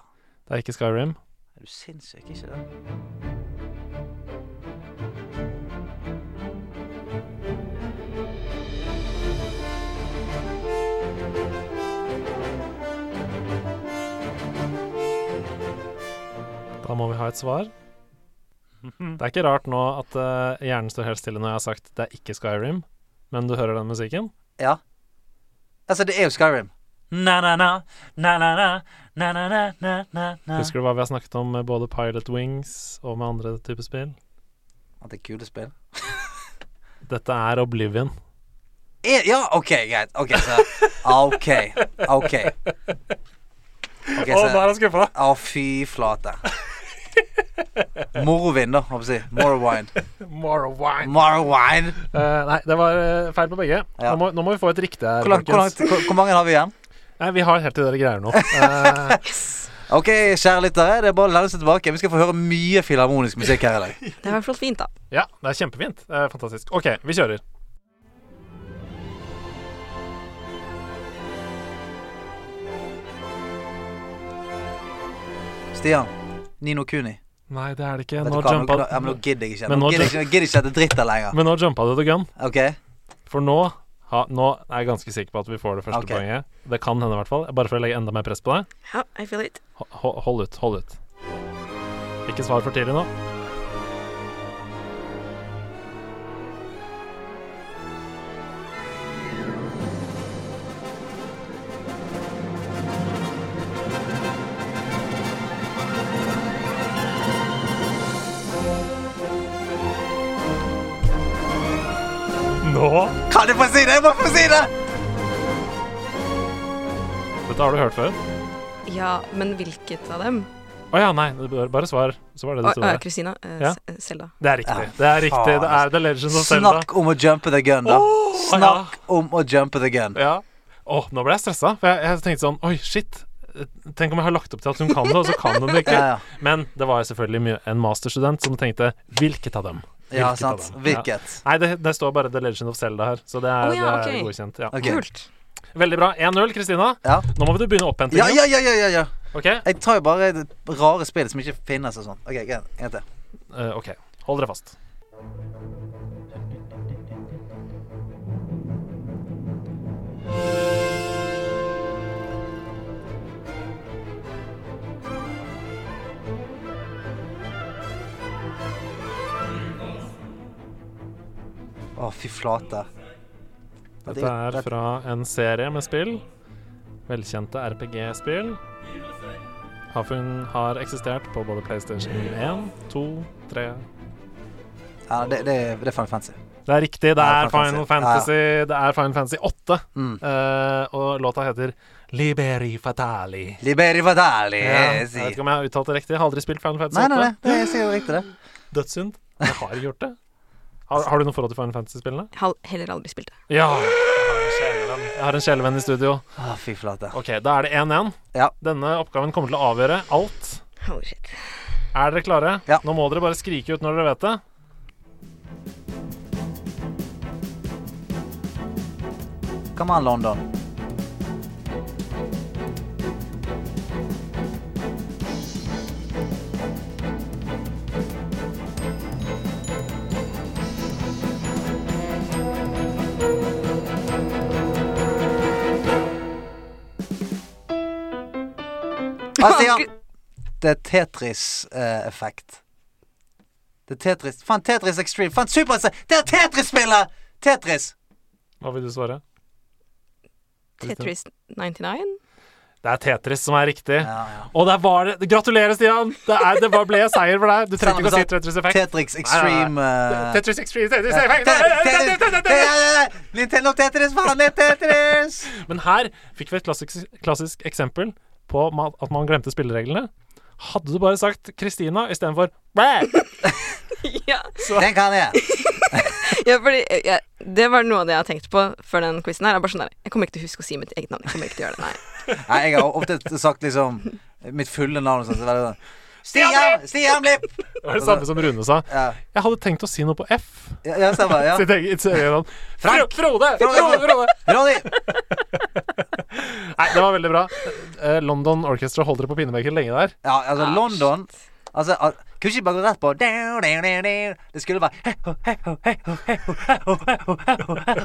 S4: Det er ikke Skyrim.
S3: Er du sinnssyk? Ikke det?
S4: Da må vi ha et svar. Det er ikke rart nå at eh, hjernen står helt stille når jeg har sagt det er ikke Skyrim, men du hører den musikken?
S3: Ja. Altså, det er jo Skyrim. Na-na-na, na-na-na, na-na-na, na-na-na.
S4: Husker du hva vi har snakket om med både Pilot Wings og med andre typer spill?
S3: At det er kule spill.
S4: Dette er Oblivion.
S3: Er, E, ja, OK, greit. OK, så OK. OK. Ok, så,
S4: er jeg skuffa!
S3: å, fy flate. Morrowind, da, håper jeg å si. Morrowind.
S4: Morrowind.
S3: Morrowind.
S4: Eh, nei, det var eh, feil på begge.
S3: Ja.
S4: Nå, må, nå må vi få et riktig her,
S3: Hvor, langt, hvor, langt,
S4: folkens.
S3: hvor, hvor mange har vi igjen?
S4: Nei, vi har helt til dere greier noe. Eh,
S3: OK, kjære lyttere, det er bare å lene seg tilbake. Vi skal få høre mye filharmonisk musikk her i dag.
S1: Det er i hvert fall fint, da.
S4: Ja, det er kjempefint. Det er fantastisk. OK, vi kjører.
S3: Stian. Nino Kuni.
S4: Nei, det er det ikke.
S3: Vet
S4: Nå
S3: du hva, nå-
S4: jumpa
S3: nå- ja, men nå gidder jeg ikke.
S4: Men
S3: Nå
S4: nå
S3: gidder jeg ikke, nå gidder jeg ikke at det er dritt der lenger.
S4: Men nå jumpa du the gun.
S3: OK?
S4: For nå, ha, nå er jeg ganske sikker på at vi får det første
S3: Ok.
S4: poenget. Det kan hende, i hvert fall. Bare for å legge enda mer press på deg.
S1: Ja, I feel it.
S4: Ho- ho- Hold ut, hold ut. Ikke svar for tidlig nå. Nå?
S3: Kan jeg få si det? Jeg må få si det!
S4: Vet Dette har du hørt før.
S1: Ja, men hvilket av dem?
S4: Å ja, nei. det bør- Bare svar. Så var det det
S1: Å,
S4: store.
S1: å, Kristina. eh,
S4: Ja.
S1: S- Selda.
S4: Det er riktig. Det er riktig. Det er The Legends of Zelda.
S3: Snakk om å jumpe the gun, da.
S4: ja.
S3: Snakk om å jumpe the gun.
S4: Ja. Åh, nå ble jeg stressa, for jeg, jeg tenkte sånn Oi, shit. Tenk om jeg har lagt opp til at hun kan det, og så kan hun det ikke.
S3: Ja, ja.
S4: Men det var jo selvfølgelig mye- en masterstudent som tenkte Hvilket av dem?
S3: ja
S4: Hvilket av
S3: sant.
S4: dem? Ja.
S3: Hvilket?
S4: Nei, det, det står bare The Legend of Zelda her, så det er,
S1: Å ja,
S4: det er
S1: ok.
S4: godkjent. Ja.
S3: Ok.
S1: Kult.
S4: Veldig bra. 1-0, Kristina.
S3: Ja.
S4: Nå må vi begynne opphentingen.
S3: Ja, ja, ja, ja, ja, ja.
S4: Ok?
S3: Jeg tar jo bare rare spill som ikke finnes og sånn. OK, en, en til.
S4: Eh, ok, hold dere fast.
S3: Å, fy flate. Ja, det-
S4: Dette er
S3: det-
S4: fra en serie med spill. Velkjente RPG-spill. Har fun- har eksistert på både PlayStation 1, 2, 3
S3: Ja, det, det, det er Final Fantasy.
S4: Det er riktig, det
S3: Ja,
S4: er Final Fantasy, det er Final Fantasy 8.
S3: Mm.
S4: Eh, og låta heter Liberi Fatali.
S3: Liberi fatali.
S4: Ja, jeg
S3: si.
S4: vet ikke om jeg har uttalt det riktig. Jeg har aldri spilt Final Fantasy
S3: Nei,
S4: 8.
S3: nei, nei, det er sikkert riktig, det.
S4: Dødssynd. Jeg har ikke gjort det. Har, har du noe forhold til Final Fantasy-spillene?
S1: Jeg har heller aldri spilt det.
S4: Ja. Jeg har en sjelevenn i studio.
S3: Å, fy flate.
S4: Ok, Da er det 1-1.
S3: Ja.
S4: Denne oppgaven kommer til å avgjøre alt.
S1: Holy shit.
S4: Er dere klare?
S3: Ja.
S4: Nå må dere bare skrike ut når dere vet det.
S3: Come on, London. Ah, Stian. Det er Tetris-effekt. det er Tetris Faen, Tetris Extreme. Faen, Super... Det er Tetris-spillet! Tetris.
S4: Hva vil du svare?
S1: Tetris 99?
S4: Det er Tetris som er riktig.
S3: Ja, ja.
S4: Og der var det Gratulerer, Stian! Det, er, det var- ble seier for deg. Du trengte ikke å si Tetris Effect.
S3: Tetris Extreme eh,
S4: Tetris Extreme Tetris
S3: ja.
S4: Effect.
S3: Te- Tetris- Te- Nintendo Tetris, faen, det er Tetris!
S4: Men her fikk vi et klassisk, klassisk eksempel på ma- at man glemte spillereglene. Hadde du bare sagt Kristina istedenfor Bæ!
S1: ja.
S3: Den kan jeg.
S1: ja, fordi eh, jeg- Det var noe av det jeg har tenkt på før den quizen her. Jeg, er bare sånn der, jeg kommer ikke til å huske å si mitt eget navn. Jeg kommer ikke til å gjøre det, nei.
S3: Nei, jeg har ofte sagt liksom mitt fulle navn og sånn. Så var det sånn Stian! Stian Blipp!
S4: Det var det samme som Rune sa.
S3: Ja,
S4: Jeg hadde tenkt å si noe på F.
S3: ja, ja stemmer. Ja.
S4: Sitt eget, sitt eget navn. Fro-
S3: Frank!
S4: Frode! Frode,
S3: Frode!
S4: Frode!
S3: Ronny!
S4: Nei, det var veldig bra. Eh, London Orchestra holdt dere på pinnebenken lenge der.
S3: Ja, altså, London Altså, al- kunne ikke bare gå rett på Det skulle være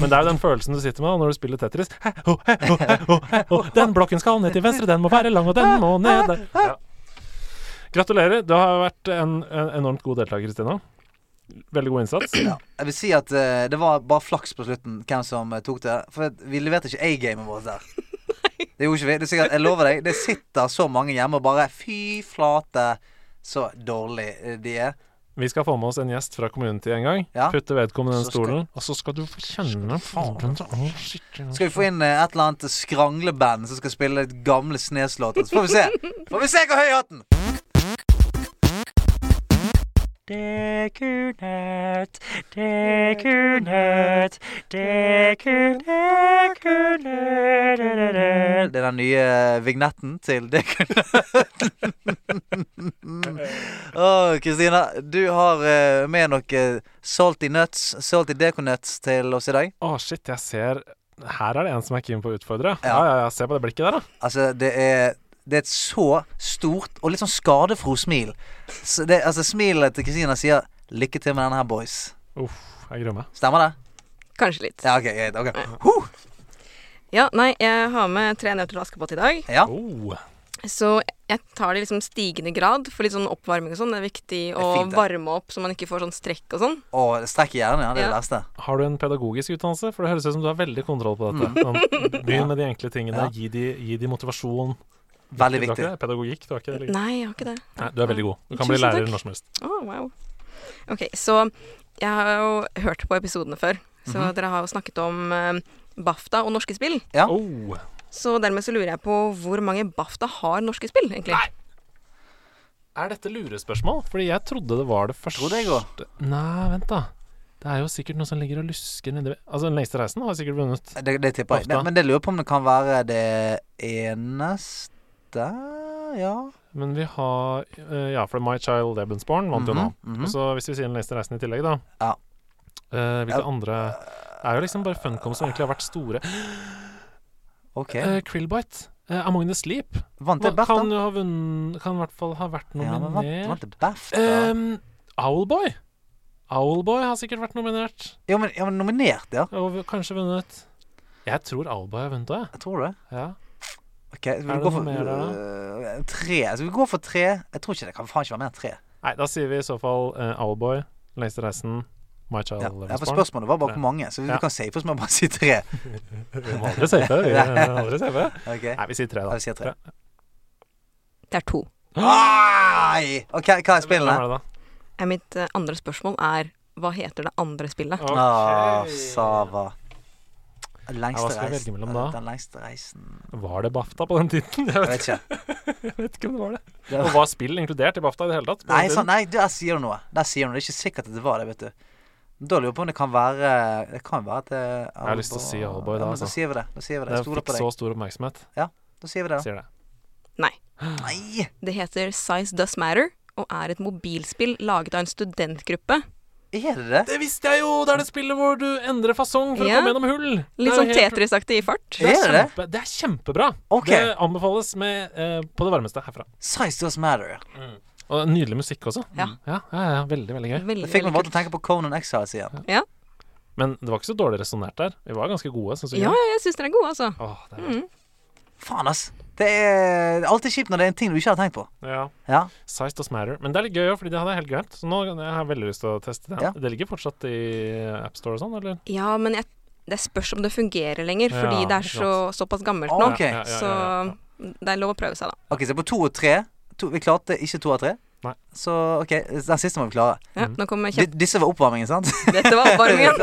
S4: Men det er jo den følelsen du sitter med da når du spiller Tetris. Ho, he, ho, he, ho, he, ho. Den blokken skal ned til venstre, den må være lang, og den må ned der. Ja. Gratulerer. Du har vært en, en enormt god deltaker, Kristina. Veldig god innsats.
S3: Jeg vil si at eh, det var bare flaks på slutten hvem som eh, tok det. For at vi leverte ikke A-gamet vårt der. Det gjorde ikke vi. Det er sikkert, jeg lover deg, det sitter så mange hjemme og bare Fy flate, så dårlig eh, de er.
S4: Vi skal få med oss en gjest fra community en gang.
S3: Ja.
S4: Putte vedkommende i den
S3: Så skal-
S4: stolen, og så skal du få kjenne faren til
S3: Skal vi få inn eh, et eller annet skrangleband som skal spille litt gamle sneslåter? Så får vi se. Får vi se hvor høy hatten!
S2: Det kunne, det kunne, det kunne, kunne
S3: Det er den nye eh, vignetten til det kunne Åh, Kristina, du har eh, med noe salty nuts, salty deconuts til oss i dag.
S4: Å, shit, jeg ser Her er det en som er keen på å utfordre.
S3: Ja.
S4: Ja, ja, ja. Se på det blikket der, da.
S3: Altså, det er det er et så stort og litt sånn skadefro smil. Så det, altså, smilet til Kristina sier 'lykke til med denne her, boys'.
S4: Uff, jeg gruer meg.
S3: Stemmer det?
S1: Kanskje litt.
S3: Ja, ok. greit, ok Huh!
S1: Ja, nei, jeg har med tre nøtter til Askepott i dag.
S3: Ja.
S4: Oh.
S1: Så jeg tar det liksom stigende grad for litt sånn oppvarming og sånn. Det er viktig å
S3: fint, det.
S1: varme opp så man ikke får sånn strekk og sånn.
S3: Og strekk i hjernen, ja. Det er det
S1: Ja.
S3: verste.
S4: Har du en pedagogisk utdannelse? For det høres ut som du har veldig kontroll på dette. Sånn, Begynn med de enkle tingene.
S3: Mm. Ja.
S4: Gi, de, gi de motivasjon.
S3: Veldig
S4: Du har ikke
S3: viktig.
S4: det? Pedagogikk? Du har ikke det? eller?
S1: Nei, jeg har ikke det.
S4: Nei, du er veldig god. Du kan bli
S1: Tusen
S4: lærer
S1: takk.
S4: når som helst.
S1: Å, wow. Ok, så jeg har jo hørt på episodene før. Så dere har jo snakket om eh, BAFTA og norske spill.
S3: Ja.
S4: Oh.
S1: Så dermed så lurer jeg på hvor mange BAFTA har norske spill, egentlig.
S4: Nei. Er dette lurespørsmål? Fordi jeg trodde det var det første
S3: Trodde jeg også.
S4: Nei, vent, da. Det er jo sikkert noe som ligger og lusker nedi Altså, Den lengste reisen har sikkert vunnet.
S3: Det, det tipper jeg.
S4: Ofte.
S3: Det, men det lurer på om det kan være det eneste Ja.
S4: Men vi har eh, Ja, for My Child Ebensborn vant jo nå. Altså,
S3: Mhm, mhm.
S4: Og så hvis vi sier Den lengste reisen i tillegg, da
S3: Ja.
S4: eh, Hvilke
S3: Ja.
S4: andre Det er jo liksom bare Funcom som egentlig har vært store.
S3: OK.
S4: Eh, Krillbite, eh, Among the Sleep,
S3: Vant det
S4: hva-
S3: BAFTA?
S4: kan jo ha vunnet Kan i hvert fall ha vært
S3: Ja, men vant,
S4: nominert.
S3: vant det BAFTA?
S4: Ehm, Owlboy. Owlboy har sikkert vært nominert.
S3: jo, men, ja, men nominert, ja.
S4: Og kanskje vunnet. Jeg tror Alba har vunnet òg,
S3: Jeg tror det.
S4: jeg. Ja.
S3: Ok, så vi
S4: Er det
S3: går for,
S4: noe mer der,
S3: øh, Tre. Så vi går for tre. Jeg tror ikke det kan faen ikke være mer enn tre.
S4: Nei, da sier vi i så fall uh, Owlboy, Lengste reisen, My Child
S3: Ja.
S4: ja,
S3: Ja, for spørsmålet var bare hvor mange, så vi
S4: Ja.
S3: kan safe oss med å bare si tre.
S4: Vi må aldri safe. Vi må aldri safe.
S3: Ok,
S4: Nei, vi sier tre,
S3: Ja,
S4: da.
S3: vi sier tre.
S1: Det er to.
S3: Ai! Ok, hva er
S4: Hvem
S3: spillene?
S4: er det, da?
S1: Eh, Mitt eh, andre spørsmål er hva heter det andre spillet?
S4: Ok.
S3: Ah, Sava. Den
S4: Ja, hva skal
S3: lengste
S4: jeg velge
S3: reisen.
S4: mellom da?
S3: Den lengste reisen
S4: Var det BAFTA på den tiden? Jeg
S3: Jeg
S4: vet,
S3: vet ikke.
S4: jeg vet ikke om det var det.
S3: Det
S4: Og
S3: var-
S4: var spill inkludert i BAFTA i det hele tatt? på
S3: Nei,
S4: den
S3: sånn,
S4: tiden?
S3: nei, der sier du noe. Der sier du noe. Det er ikke sikkert at det var det, vet du. Da lurer jeg på om det kan være Det kan være at det er
S4: har lyst til å si Alboy da,
S3: Ja, men Da
S4: altså.
S3: sier vi det. Da sier vi det.
S4: Det
S3: Jeg stoler
S4: fikk
S3: på
S4: så
S3: deg.
S4: stor oppmerksomhet,
S3: Da sier vi det, da.
S4: sier det.
S1: Nei.
S3: Nei!
S1: Det heter Size Does Matter og er et mobilspill laget av en studentgruppe.
S3: Er det det?
S4: Det visste jeg jo! Det er det spillet hvor du endrer fasong for å
S1: Ja.
S4: komme gjennom hull. Det er
S1: Litt
S4: jo
S1: sånn
S4: helt-
S1: Tetris-aktig i fart.
S4: Det er,
S3: Er det
S4: kjempe, det er kjempebra.
S3: Ok.
S4: Det anbefales med, eh, på det varmeste herfra.
S3: Size does matter.
S4: Og nydelig musikk også. Mm.
S1: Ja.
S4: Ja, ja, ja, veldig, veldig gøy.
S1: Veldig,
S3: Det fikk meg bare
S1: veldig
S3: til å tenke på Conan Exiles igjen.
S4: Men det var ikke så dårlig resonnert der. Vi var ganske gode. Synes jeg.
S1: Ja, ja, jeg syns dere er gode, altså.
S4: Åh, det er...
S3: Faen, ass. Det er alltid kjipt når det er en ting du ikke har tenkt på.
S4: ja.
S3: Ja.
S4: Size does matter. Men det er litt gøy òg, Fordi det hadde jeg helt glemt. Så nå har jeg veldig lyst til å teste det.
S3: Ja.
S4: Det ligger fortsatt i AppStore og sånn, eller?
S1: Ja, men jeg, det spørs om det fungerer lenger, fordi
S4: Ja,
S1: det er
S4: ikke
S1: så, såpass gammelt
S3: Å,
S1: nå.
S3: Ok,
S1: Så det er lov å prøve seg, da.
S3: Ok, så på to og tre to, Vi klarte ikke to av tre.
S4: Nei.
S3: Så OK, den siste må vi klare.
S1: Ja,
S4: Mhm.
S1: nå kommer
S3: D
S1: kjempe...
S3: disse var oppvarmingen, sant?
S1: Dette var oppvarmingen.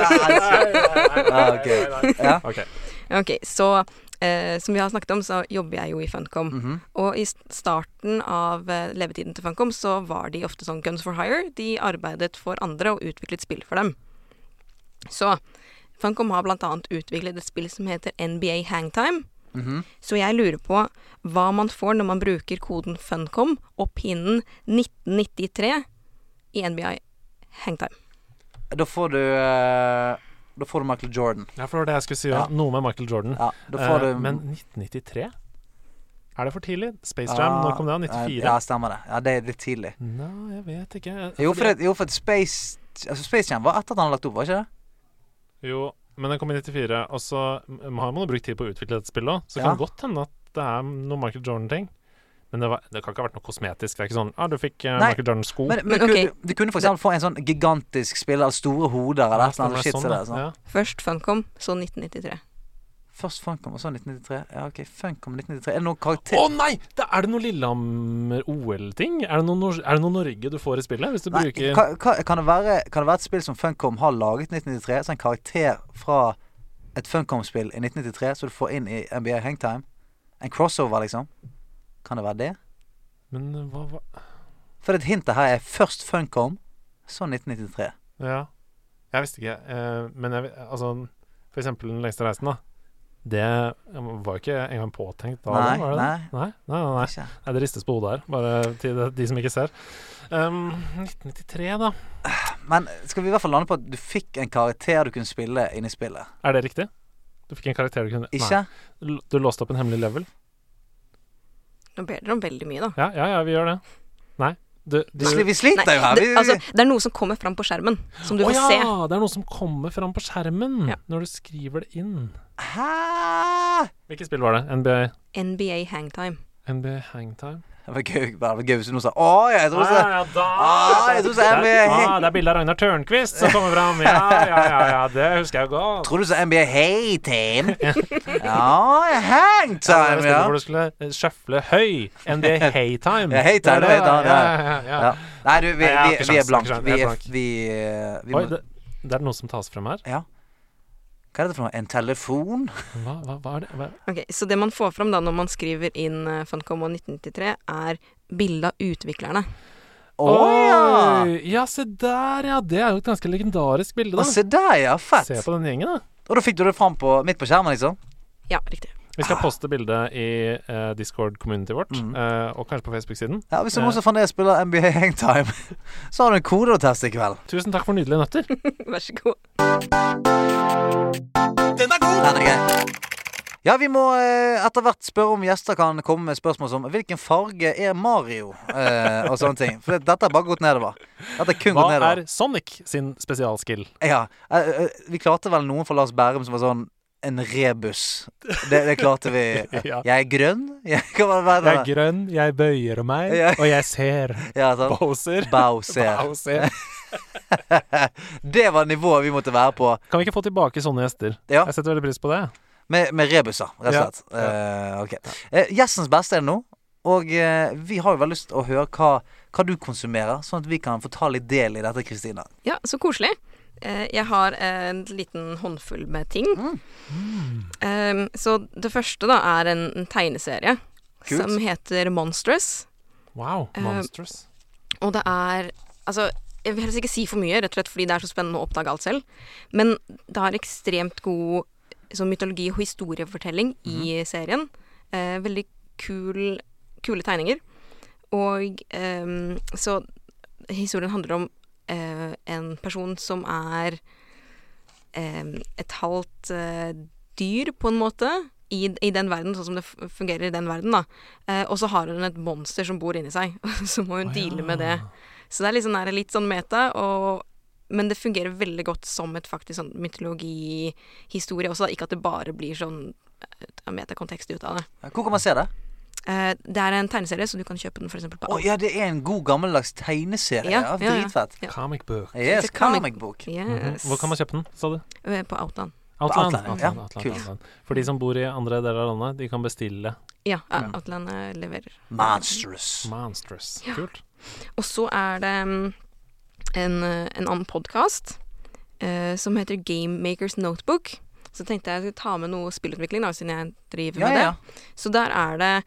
S3: Ja, ok. Ja.
S4: Ok.
S1: Ok, så eh, som vi har snakket om, så jobber jeg jo i Funcom.
S3: Mhm.
S1: Og i s- starten av eh, levetiden til Funcom så var de ofte sånn Guns for Hire. De arbeidet for andre og utviklet spill for dem. Så Funcom har blant annet utviklet et spill som heter NBA Hangtime.
S3: Mhm.
S1: Så jeg lurer på hva man får når man bruker koden Funcom og pinnen 1993 i NBA Hangtime.
S3: Da får du eh, Da får du Michael Jordan.
S4: Ja, for det var det jeg skulle si òg.
S3: Ja.
S4: Noe med Michael Jordan.
S3: Ja, da får
S4: Eh,
S3: du
S4: Men 1993? Er det for tidlig? Space Jam, når kom det?
S3: Ah,
S4: 94?
S3: Ja, stemmer det. Ja, Det er litt tidlig.
S4: Nei, jeg vet ikke.
S3: Jo, for,
S4: Fordi-
S3: det, jo, for at Space altså Space Jam var etter at han hadde lagt opp, var ikke det?
S4: Jo, men den kom i 94, og så m- har man jo brukt tid på å utvikle dette spillet òg, så det
S3: Ja.
S4: kan godt hende at det er noe Michael Jordan-ting. Men det, var, det kan ikke ha vært noe kosmetisk. Det er ikke sånn ah, 'Du fikk eh,
S3: Nei.
S4: Michael Jordan-sko'.
S3: Men, men,
S1: Men ok.
S3: du, du kunne for eksempel få en sånn gigantisk spiller, eller store hoder eller et eller annet shit.
S4: sånn,
S3: så det er sånn.
S4: ja.
S1: Først Funcom, så 1993.
S3: Først Funcom, og så 1993. Ja, ok, Funcom 1993. Er det noen karakter
S4: Å nei! Da er det noe Lillehammer-OL-ting? Er, det noe Nor- er det noe Norge du får i spillet? Hvis du
S3: Nei,
S4: bruker
S3: ka- ka- kan, det være, kan det være et spill som Funcom har laget i 1993? Så en karakter fra et Funcom-spill i 1993 som du får inn i NBA Hangtime? En crossover, liksom? Kan det være det?
S4: Men hva, hva
S3: For et hint her er først Funcom, så 1993.
S4: Ja. Jeg visste ikke. eh, men jeg, vi- altså For eksempel Den lengste reisen, da. Det var jo ikke engang påtenkt da.
S3: Nei,
S4: da, var det det?
S3: nei.
S4: Nei, nei, nei, nei.
S3: Ikke.
S4: Nei, det ristes på hodet her, bare til de, de som ikke ser. Ehm, 1993, da.
S3: Men skal vi i hvert fall lande på at du fikk en karakter du kunne spille inni spillet?
S4: Er det riktig? Du fikk en karakter du kunne
S3: Ikke?
S4: Nei. Du låste opp en hemmelig level?
S1: Nå ber dere om veldig mye, da.
S4: Ja, ja, ja, vi gjør det. Nei. Du,
S3: Vi, sli, vi sliter jo her.
S1: det,
S3: Vi,
S1: altså, det er noe som kommer fram på skjermen, som du
S4: Å
S1: får
S4: ja!
S1: se.
S4: Det er noe som kommer fram på skjermen
S1: Ja.
S4: når du skriver det inn.
S3: Hæ?
S4: Hvilket spill var det? NBA,
S1: NBA Hangtime.
S4: NBA Hangtime?
S3: Det var gøy, det var gøy hvis noen sa Å, ja, jeg trodde det.
S4: ja, da!
S3: Ah, jeg tror så er
S4: det,
S3: vi-
S4: ah, det er bilde av Ragnar Tørnquist som kommer fram. Ja, ja, ja, ja, det husker jeg godt.
S3: Tror du sa NBA Hey Team? Ja, ja, hangtime,
S4: ja.
S3: ja.
S4: Hvor du skulle eh, sjøfle høy. NBA Haytime.
S3: Ja, Haytime, det var Haytime,
S4: ja, ja, ja,
S3: ja.
S4: ja.
S3: Nei, du, vi,
S4: Nei, jeg har
S3: vi,
S4: ikke
S3: vi er
S4: sjans,
S3: blank.
S4: jeg har ikke sjans,
S3: Vi
S4: jeg er
S3: er vi,
S4: blank.
S3: eh, vi
S4: Oi,
S3: må,
S4: det, det er noe som tas frem her.
S3: Ja. Hva er dette for noe? En telefon?
S4: Hva, hva, hva er det? Hva?
S1: Ok, Så det man får fram da når man skriver inn eh, Funcom og 1993, er bilde av utviklerne.
S3: Å ja!
S4: Oi! Ja, se der, ja. Det er jo et ganske legendarisk bilde,
S3: Å,
S4: da.
S3: Se der, ja. Fett.
S4: Se på den gjengen, da.
S3: Og da fikk du det fram på, midt på skjermen, liksom?
S1: Ja, riktig.
S4: Vi skal poste bildet i eh, Discord-community vårt,
S3: Ah. Mm.
S4: eh, og kanskje på Facebook-siden.
S3: Ja, Hvis det er
S4: Ja.
S3: noen som fremdeles spiller NBA Hangtime, så har du en kode å teste i kveld.
S4: Tusen takk for nydelige nøtter.
S1: Vær så god.
S3: Den er grei. Ja, vi må eh, etter hvert spørre om gjester kan komme med spørsmål som Hvilken farge er Mario? Eh, og sånne ting. For det- dette har bare gått nedover. Dette er kun
S4: Hva
S3: gått nedover.
S4: er Sonic sin spesialskill?
S3: Ja, eh, eh, Vi klarte vel noen for Lars Bærum som var sånn en rebus. Det, det klarte vi.
S4: Ja.
S3: Jeg er grønn? Jeg, hva var det verre?
S5: Jeg er grønn, jeg bøyer meg,
S3: Ja.
S5: og jeg ser.
S3: ja, sånn.
S4: Bowser.
S3: Bowser.
S4: Bowser.
S3: Det var nivået vi måtte være på
S4: Kan vi ikke få tilbake sånne gjester?
S3: Ja.
S4: Jeg setter veldig pris på det.
S3: med, med rebuser, rett og
S5: Ja,
S3: slett. Eh, ok. Eh, Gjestens beste er det nå. Og eh, vi har jo veldig lyst til å høre hva, hva du konsumerer, sånn at vi kan få ta litt del i dette, Kristina.
S1: Ja, så koselig. Eh, Jeg har en liten håndfull med ting.
S3: Mm.
S1: Eh, Så det første da er en en tegneserie
S3: Kult.
S1: som heter Monstrous.
S4: Wow.
S1: Eh,
S4: Monsters.
S1: Og det er Altså, jeg vil helst ikke si for mye, rett og slett fordi det er så spennende å oppdage alt selv. Men det har ekstremt god sånn mytologi og historiefortelling i
S4: Mhm.
S1: serien. Eh, veldig kul, kule tegninger. Og ehm, så historien handler om eh, en person som er ehm, et halvt eh, dyr, på en måte, i, i den verden, sånn som det f- fungerer i den verden, da. Eh, og så har hun et monster som bor inni seg, så må
S4: Å,
S1: hun
S4: ja.
S1: deale med det. Så det er litt sånn, her- litt sånn meta, og, men det fungerer veldig godt som et faktisk sånn mytologihistorie også, da. ikke at det bare blir sånn eh, metakontekst ut av det.
S3: Hvor kan man se det?
S1: Eh, det er en tegneserie, så du kan kjøpe den f.eks. på
S3: Å ja, det er en god gammeldags tegneserie. Ja,
S1: Ja, ja, ja.
S3: Dritfett.
S1: Ja.
S5: Comic book.
S3: Yes,
S1: It's a comic-
S3: comic book.
S1: Yes.
S4: Hvor Mhm. kan man kjøpe den, sa du?
S1: Eh, På Outland.
S3: Outland,
S4: Outland.
S3: ja.
S4: Outland,
S3: Ja,
S4: Outland,
S3: kult.
S4: Outland. For de som bor i andre deler av landet, de kan bestille
S1: Ja,
S4: Mm.
S1: eh, Outland eh, leverer. Mm.
S3: Monstrous.
S4: Monsters.
S1: Ja.
S4: Kult.
S1: Og så er det mm, en, eh, en annen podkast som heter Game Makers Notebook. Så tenkte jeg jeg skulle ta med noe spillutvikling, da, siden jeg driver
S3: Ja,
S1: med det.
S3: ja.
S1: Så der er det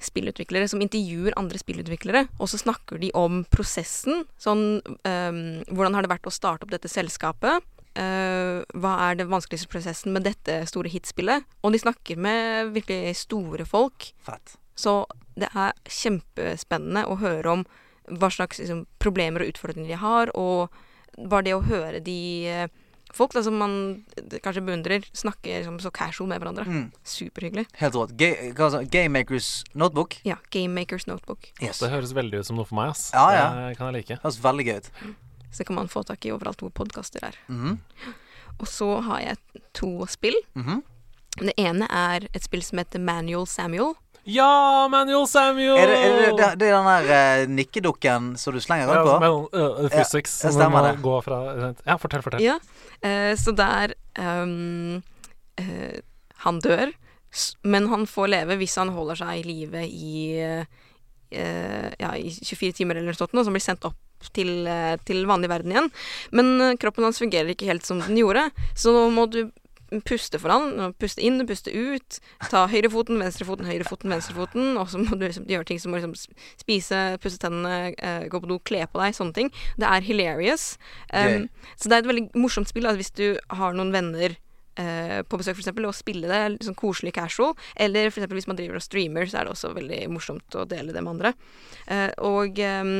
S1: spillutviklere som intervjuer andre spillutviklere, og så snakker de om prosessen. Sånn ehm, Hvordan har det vært å starte opp dette selskapet? Eh, hva er den vanskeligste prosessen med dette store hitspillet? Og de snakker med virkelig store folk.
S3: Fett.
S1: Så det er kjempespennende å høre om hva slags liksom, problemer og utfordringer de har, og bare det å høre de eh, folk da, som man eh, kanskje beundrer, snakke liksom, så casual med hverandre.
S3: Mm,
S1: Superhyggelig.
S3: helt rått. Ga- eh, hva sa- Game Makers Notebook.
S1: Ja, Game Makers Notebook.
S3: Yes.
S4: Det høres veldig ut som noe for meg, ass.
S3: Ja, ja.
S4: Det kan jeg like.
S3: Høres veldig gøy ut.
S1: Så det kan man få tak i overalt hvor podkaster er.
S3: Mhm,
S1: Og så har jeg to spill.
S3: mhm.
S1: Det ene er et spill som heter Manual Samuel.
S4: Ja, Manuel Samuel!
S3: Er det, er det, det, det er den der eh, nikkedukken som du slenger
S4: Ja,
S3: rundt på?
S4: men, uh, physics.
S3: Ja,
S4: Ja,
S3: det stemmer det.
S4: Gå fra, ja, fortell, fortell.
S1: Ja. Eh, så der ehm, eh, Han dør, s- men han får leve hvis han holder seg i live i, eh, ja, i 24 timer eller noe sånt, og så blir sendt opp til, eh, til vanlig verden igjen. Men eh, kroppen hans fungerer ikke helt som den gjorde, så nå må du puste for han, og puste inn, puste ut, ta høyrefoten, venstrefoten, høyrefoten, venstrefoten, og så må du liksom gjøre ting som å liksom spise, pusse tennene, eh, gå på do, kle på deg, sånne ting. Det er hilarious.
S3: Gøy.
S1: Um, så det er et veldig morsomt spill da, hvis du har noen venner eh, på besøk, for eksempel, og spille det liksom koselig casual. Eller for eksempel hvis man driver og streamer, så er det også veldig morsomt å dele det med andre. Eh, og ehm,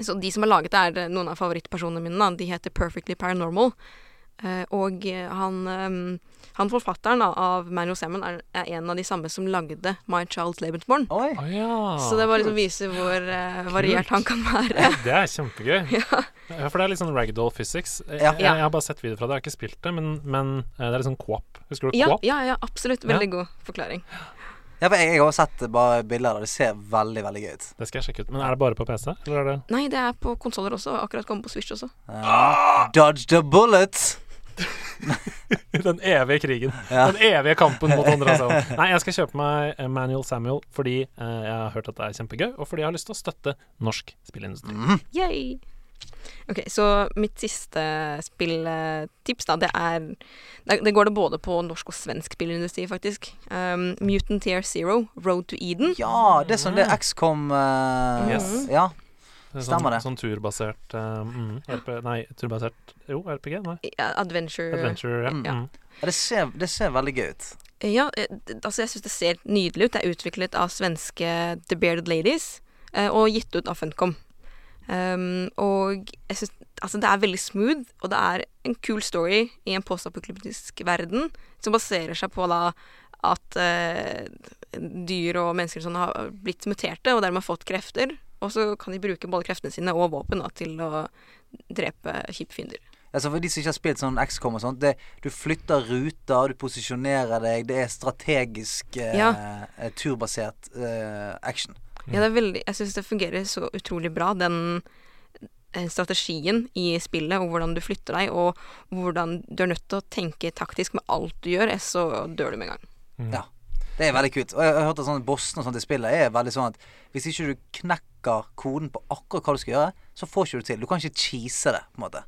S1: så de som har laget det, er eh, noen av favorittpersonene mine. Da. De heter Perfectly Paranormal. Eh, og eh, han, ehm, han forfatteren da, av Manuel Salmon er, er en av de samme som lagde My Child Lebensborn.
S3: Oi.
S4: Å, ja.
S1: Så det bare liksom viser hvor eh, variert han kan være.
S4: Det er kjempegøy. Ja, For det er litt sånn ragdoll physics. Jeg,
S3: Ja.
S4: jeg, jeg har bare sett video fra det, jeg har ikke spilt det, men, men eh, det er litt sånn co-op. Husker du
S1: Ja,
S4: co-op?
S1: ja, ja, absolutt. Veldig god forklaring.
S3: Ja, for jeg, jeg har sett bare bilder av det. Det ser veldig, veldig gøy ut.
S4: Det skal jeg sjekke ut. Men er det bare på PC? Eller er det
S1: Nei, det er på konsoller også. og Akkurat kommet på Switch også.
S3: Ja. Eh, Dodge the bullet.
S4: Den evige krigen.
S3: Ja.
S4: Den evige kampen mot andre. Altså. Nei, jeg skal kjøpe meg eh, Manuel Samuel fordi eh, jeg har hørt at det er kjempegøy, og fordi jeg har lyst til å støtte norsk spillindustri.
S3: Mhm.
S1: Yay! Ok, så mitt siste spilltips, da, det er det- Det går det både på norsk og svensk spillindustri, faktisk. Um, Mutant Year Zero, Road to Eden.
S3: Ja, det er sånn det XCOM eh,
S1: Yes.
S3: Ja.
S4: Det er
S3: Stemmer det.
S4: Sånn, sånn turbasert eh, mm, RP, Nei, turbasert Jo, RPG? Nei.
S1: Ja, Adventure.
S4: Adventure. Ja.
S3: Mm.
S4: Mm.
S3: Ja, Det ser, det ser veldig gøy ut.
S1: Ja, eh, d- altså jeg syns det ser nydelig ut. Det er utviklet av svenske The Bearded Ladies eh, og gitt ut av Funcom. Um, og jeg synes, altså det er veldig smooth, og det er en kul story i en postapokalyptisk verden som baserer seg på da at eh, dyr og mennesker og sånn har blitt muterte og dermed fått krefter. Og så kan de bruke både kreftene sine og våpen da, til å drepe kjipe fiender.
S3: Altså For de som ikke har spilt sånn XCOM og sånt, det, du flytter ruter, du posisjonerer deg, det er strategisk eh,
S1: Ja.
S3: eh, turbasert eh, action.
S1: Ja, det er veldig, jeg syns det fungerer så utrolig bra, den eh, strategien i spillet, og hvordan du flytter deg, og hvordan du er nødt til å tenke taktisk med alt du gjør, ellers så dør du med en gang.
S4: Mm.
S3: Ja. Det er veldig kult. Og jeg jeg har hørt at sånn bossene og sånt i spillet er veldig sånn at hvis ikke du knekker koden på akkurat hva du skal gjøre, så får ikke du til. Du kan ikke cheese det, på en måte.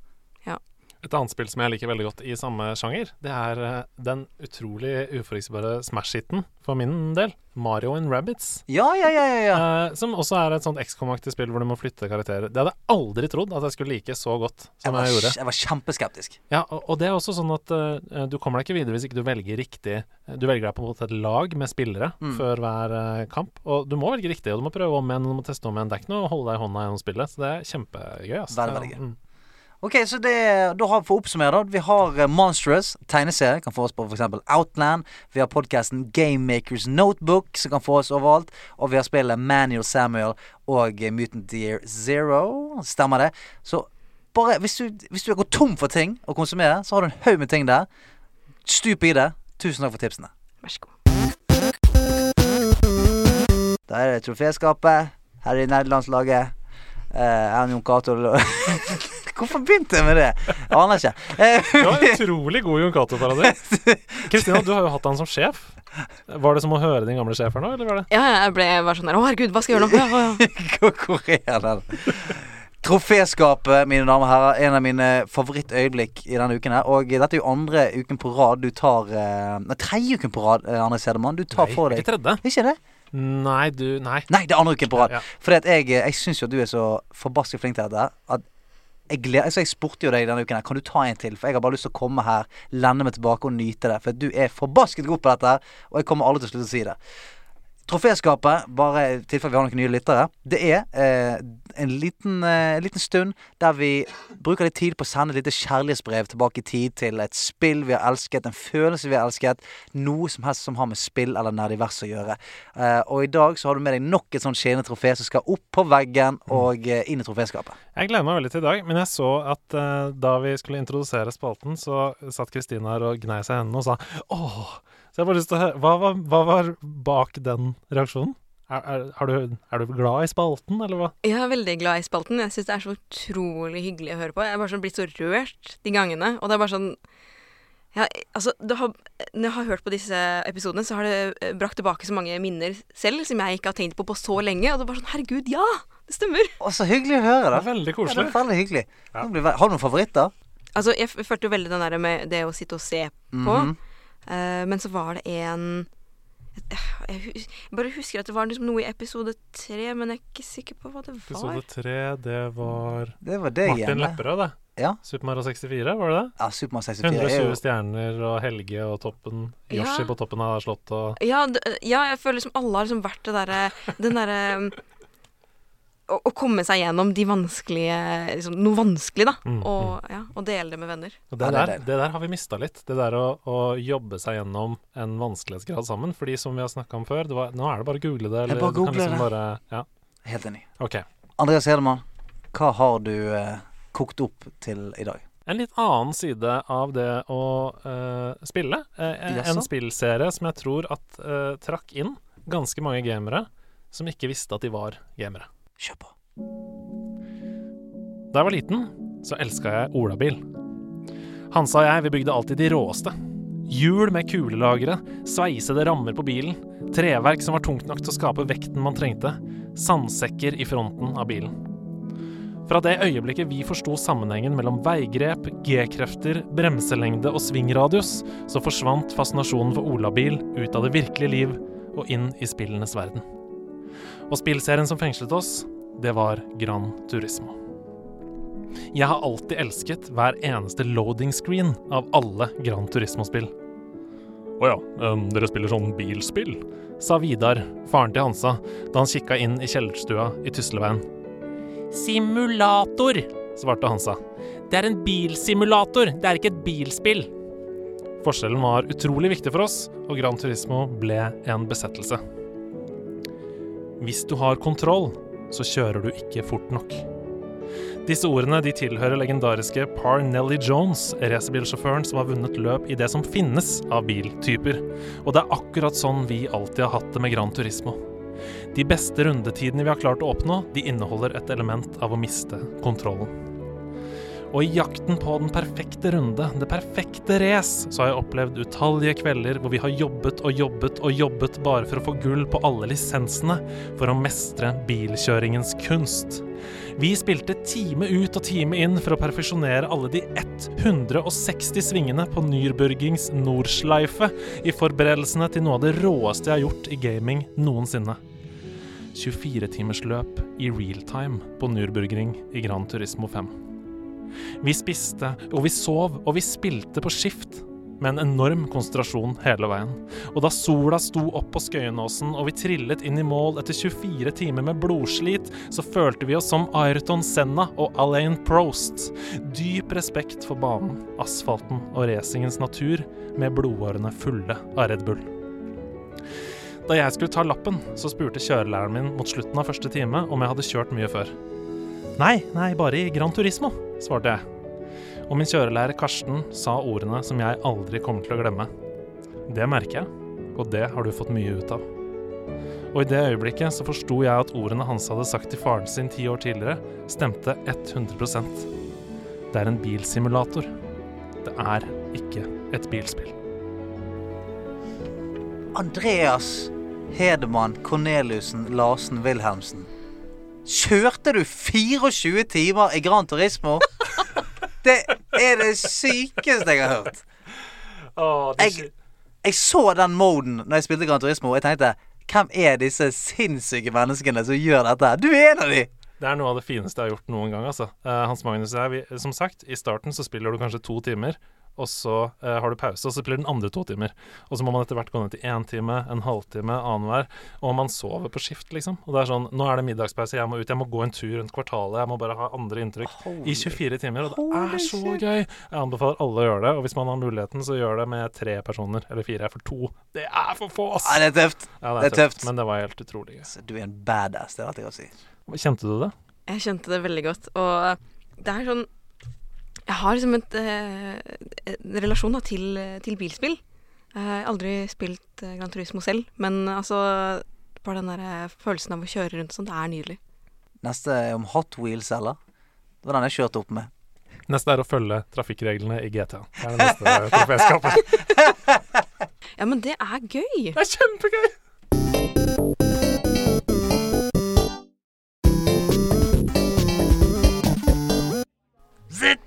S4: Et annet spill som jeg liker veldig godt i samme sjanger, det er eh, den utrolig uforutsigbare Smash-hiten, for min del. Mario and Rabbits.
S3: Ja, ja, ja, ja. ja.
S4: Eh, som også er et sånt XCOM-aktig spill hvor du må flytte karakterer. Det hadde jeg aldri trodd at jeg skulle like så godt
S3: Jeg var,
S4: som sånn jeg, gjorde.
S3: jeg var kjempeskeptisk.
S4: Ja, og, og det er også sånn at eh, du kommer deg ikke videre hvis ikke du velger riktig. Du velger deg på en måte et lag med spillere
S3: Mm.
S4: før hver eh, kamp. Og du må velge riktig, og du må prøve om igjen, og du må teste om igjen. Det er ikke noe å holde deg i hånda gjennom spillet, så det er kjempegøy. ass.
S3: Veldig, veldig gøy.
S4: Mm.
S3: Ok, så det, da har vi for å oppsummere da Vi har eh, Monstrous, tegneserie Kan få oss på for eksempel Outland Vi har podcasten Game Makers Notebook Som kan få oss overalt Og vi har spillet Manuel Samuel Og eh, Mutant Year Zero Stemmer det Så bare, hvis du, hvis du går tom for ting Å konsumere, så har du en haug med ting der Stup i det Tusen takk for tipsene
S1: Vær så god.
S3: Da er det troféskapet Her i nerdelandslaget Eh, Ernie Jon Cato Hvorfor begynte jeg med det? Jeg aner ikke Eh,
S4: Det var en utrolig god Jon Cato-parodi. Kristina, du har jo hatt han som sjef. Var det som å høre din gamle sjef her nå, eller var det
S1: Ja, ja, jeg ble bare sånn der Å, herregud, hva skal jeg gjøre nå? Ja, ja, ja.
S3: Hvor hvor er den? Troféskapet, mine damer og herrer, en av mine favorittøyeblikk i denne uken her. Og dette er jo andre uken på rad du tar eh, Nei, tredje uken på rad, eh, Arne Sedemann. Du tar for
S4: Ikke
S3: deg
S4: tredje.
S3: Ikke det?
S4: Nei, du Nei.
S3: Nei, det er andre uken på rad.
S4: Ja.
S3: Fordi at jeg, jeg syns jo at du er så forbasket flink til dette at jeg, gleder, altså jeg spurte jo deg denne uken her Kan du ta en til, for jeg har bare lyst til å komme her, lande meg tilbake og nyte det. For du er forbasket god på dette, her, og jeg kommer aldri til å slutte å si det. Troféskapet, bare i tilfelle vi har noen nye lyttere, det er eh, en liten, eh, liten stund der vi bruker litt tid på å sende et lite kjærlighetsbrev tilbake i tid til et spill vi har elsket, en følelse vi har elsket, noe som helst som har med spill eller nerdivers å gjøre. Eh, og i dag så har du med deg nok et sånt skinnende trofé som skal opp på veggen
S4: Mm.
S3: og eh, inn i troféskapet.
S4: Jeg gleder meg veldig til i dag, men jeg så at eh, da vi skulle introdusere spalten, så satt Kristina her og gnei seg i hendene og sa åh. Så jeg har bare lyst til å høre Hva var, hva var bak den reaksjonen? Er, er, har du, er du glad i spalten, eller hva?
S1: Jeg er veldig glad i spalten. Jeg syns det er så utrolig hyggelig å høre på. Jeg er bare sånn blitt så rørt de gangene. Og det er bare sånn ja, altså, det har, Når jeg har hørt på disse episodene, så har det eh, brakt tilbake så mange minner selv som jeg ikke har tenkt på på så lenge. Og det er bare sånn Herregud, ja! Det stemmer.
S3: Å, så hyggelig å høre,
S4: Det
S3: da.
S4: er veldig
S3: Ja, det
S4: koselig.
S3: er veldig hyggelig. Det blir ve- Har du noen favoritter?
S1: Altså, jeg f- følte jo veldig den der med det å sitte og se på.
S3: Mhm.
S1: eh, men så var det en eh, jeg, hus- jeg bare husker at det var liksom noe i episode tre, men jeg er ikke sikker på hva det var.
S4: Episode tre, det var
S3: Det var det
S4: Martin
S3: igjen. det.
S4: Lepperød, det.
S3: Ja.
S4: Super Mario 64, var det det?
S3: Ja, Supermann 64 er
S4: 120
S3: jo
S4: stjerner og Helge og toppen.
S1: Ja.
S4: Yoshi på toppen av slottet og
S1: Ja, d- ja, jeg føler liksom alle har liksom vært det derre Den derre um, å, å komme seg gjennom de vanskelige liksom, Noe vanskelig, da.
S4: Mm,
S1: Og, ja, og dele det med venner.
S3: Ja,
S4: Og det,
S3: det er
S4: der,
S3: deilig.
S4: det der har vi mista litt. Det der å, å jobbe seg gjennom en vanskelighetsgrad sammen. Fordi som vi har snakka om før, det var, nå er det bare å google det. Eller
S3: bare
S4: du kan
S3: googler
S4: liksom
S3: det.
S4: bare Ja,
S3: helt enig.
S4: OK.
S3: Andreas Hedemann, hva har du eh, kokt opp til i dag?
S4: En litt annen side av det å eh, spille. Eh, en
S3: Jaså?
S4: spillserie som jeg tror at eh, trakk inn ganske mange gamere som ikke visste at de var gamere.
S3: Kjør på.
S4: Da jeg var liten, så elska jeg olabil. Hansa og jeg, vi bygde alltid de råeste. Hjul med kulelagre, sveisede rammer på bilen, treverk som var tungt nok til å skape vekten man trengte, sandsekker i fronten av bilen. Fra det øyeblikket vi forsto sammenhengen mellom veigrep, G-krefter, bremselengde og svingradius, så forsvant fascinasjonen for olabil ut av det virkelige liv og inn i spillenes verden. Og spillserien som fengslet oss, det var Gran Turismo. Jeg har alltid elsket hver eneste loading screen av alle Gran Turismo-spill. Å ja, dere spiller sånn bilspill? sa Vidar, faren til Hansa, da han kikka inn i kjellerstua i Tusleveien. Simulator, svarte Hansa. Det er en bilsimulator, det er ikke et bilspill. Forskjellen var utrolig viktig for oss, og Gran Turismo ble en besettelse. Hvis du har kontroll, så kjører du ikke fort nok. Disse ordene de tilhører legendariske Par Nelly Jones, racerbilsjåføren som har vunnet løp i det som finnes av biltyper. Og det er akkurat sånn vi alltid har hatt det med Gran Turismo. De beste rundetidene vi har klart å oppnå, de inneholder et element av å miste kontrollen. Og i jakten på den perfekte runde, det perfekte race, så har jeg opplevd utallige kvelder hvor vi har jobbet og jobbet og jobbet bare for å få gull på alle lisensene, for å mestre bilkjøringens kunst. Vi spilte time ut og time inn for å perfeksjonere alle de 160 svingene på Nürburgings Nordschleife i forberedelsene til noe av det råeste jeg har gjort i gaming noensinne. 24-timersløp i realtime på Nürburgring i Gran Turismo 5. Vi spiste, og vi sov, og vi spilte på skift. Med en enorm konsentrasjon hele veien. Og da sola sto opp på Skøyenåsen og vi trillet inn i mål etter 24 timer med blodslit, så følte vi oss som Ayrton Senna og Alain Prost. Dyp respekt for banen, asfalten og racingens natur, med blodårene fulle av Red Bull. Da jeg skulle ta lappen, så spurte kjørelæreren min mot slutten av første time om jeg hadde kjørt mye før. Nei, nei, bare i Gran Turismo, svarte jeg. Og min kjørelærer Karsten sa ordene som jeg aldri kommer til å glemme. Det merker jeg, og det har du fått mye ut av. Og i det øyeblikket så forsto jeg at ordene Hans hadde sagt til faren sin ti år tidligere, stemte 100 Det er en bilsimulator. Det er ikke et bilspill.
S3: Andreas Hedemann Corneliussen Larsen Wilhelmsen. Kjørte du 24 timer i Gran Turismo? Det er det sykeste jeg har hørt. Jeg, jeg så den moden når jeg spilte Gran Turismo, og jeg tenkte hvem er disse sinnssyke menneskene som gjør dette? her? Du er en av de!
S4: Det er noe av det fineste jeg har gjort noen gang. Altså. Eh, Hans Magnus og jeg, vi, som sagt, i starten så spiller du kanskje to timer, og så eh, har du pause, og så spiller du den andre to timer. Og så må man etter hvert gå ned til én time, en halvtime, annenhver. Og man sover på skift, liksom. Og det er sånn Nå er det middagspause, jeg må ut, jeg må gå en tur rundt kvartalet, jeg må bare ha andre inntrykk. I 24 timer, og det er så gøy! Jeg anbefaler alle å gjøre det. Og hvis man har muligheten, så gjør det med tre personer, eller fire, for to. Det er for få, ass!
S3: Ja, det er tøft.
S4: Ja,
S3: det er tøft.
S4: Men det var helt utrolig gøy.
S3: Så Du er en badass, det er alt jeg kan si.
S4: Kjente du det?
S1: Jeg kjente det veldig godt. Og det er sånn Jeg har liksom et, eh, en relasjon da, til, til bilspill. Jeg har aldri spilt eh, Gran Turismo selv, men altså bare den der eh, følelsen av å kjøre rundt sånn, det er nydelig.
S3: Neste er om Hot Wheels, eller? Det var den jeg kjørte opp med.
S4: Neste er å følge trafikkreglene i GTA. Det er det neste troféskapet.
S1: Ja, men det er gøy!
S4: Det er kjempegøy!
S2: Zit,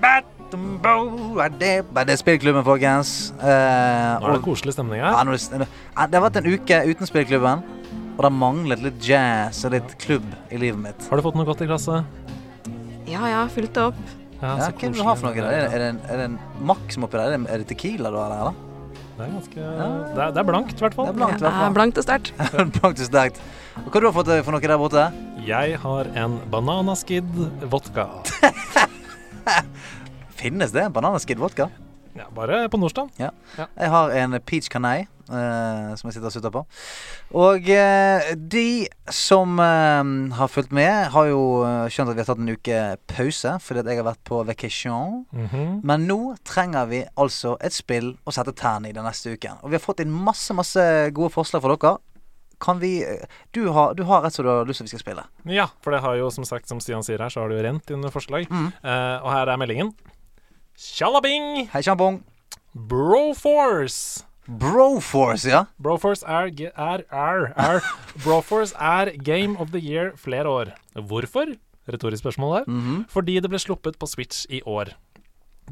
S2: bat, dum, bo,
S3: Hva er Det Nei, det er spillklubben, folkens. Eh,
S4: Nå er det
S3: og,
S4: koselig stemning
S3: ja,
S4: her.
S3: nå er det, ja, det har vært en uke uten spillklubben, og det manglet litt jazz og litt klubb i livet mitt.
S4: Har du fått noe godt i glasset?
S1: Ja, ja, fylt det opp.
S4: Ja,
S3: Ja, hva
S4: så
S3: er det du
S4: koselig.
S3: har for noe? Er det, er det, en, er det en Max oppi der? Er det, er det Tequila du har der, eller?
S4: Det er ganske Det er, det er blankt, i hvert
S3: Det
S4: fall.
S3: er blankt, i
S1: Det
S3: hvert
S1: er
S3: fall.
S1: blankt og sterkt.
S3: Blankt og sterkt. Og hva har du fått eh, for noe der borte?
S4: Jeg har en bananaskid vodka.
S3: Finnes det? Bananaskid vodka?
S4: Ja, bare på Nordstrand.
S3: Jeg har en peach canai eh, som jeg sitter og sutter på. Og eh, de som eh, har fulgt med, har jo eh, skjønt at vi har tatt en uke pause fordi at jeg har vært på vacation.
S4: Mhm.
S3: Men nå trenger vi altså et spill å sette tærne i den neste uken. Og vi har fått inn masse, masse gode forslag fra dere. Kan vi eh, Du har, du har rett som du har lyst til vi skal spille.
S4: Ja, for det har jo som sagt, som Stian sier her, så har det jo rent inn forslag.
S3: Mm.
S4: Eh, og her er meldingen. Tjalabing!
S3: Hei, sjampong.
S4: Broforce!
S3: Broforce, ja.
S4: Broforce er, ge- er, er, er Broforce er Game of the Year flere år. Hvorfor? retorisk spørsmål der.
S3: Mhm.
S4: Fordi det ble sluppet på Switch i år.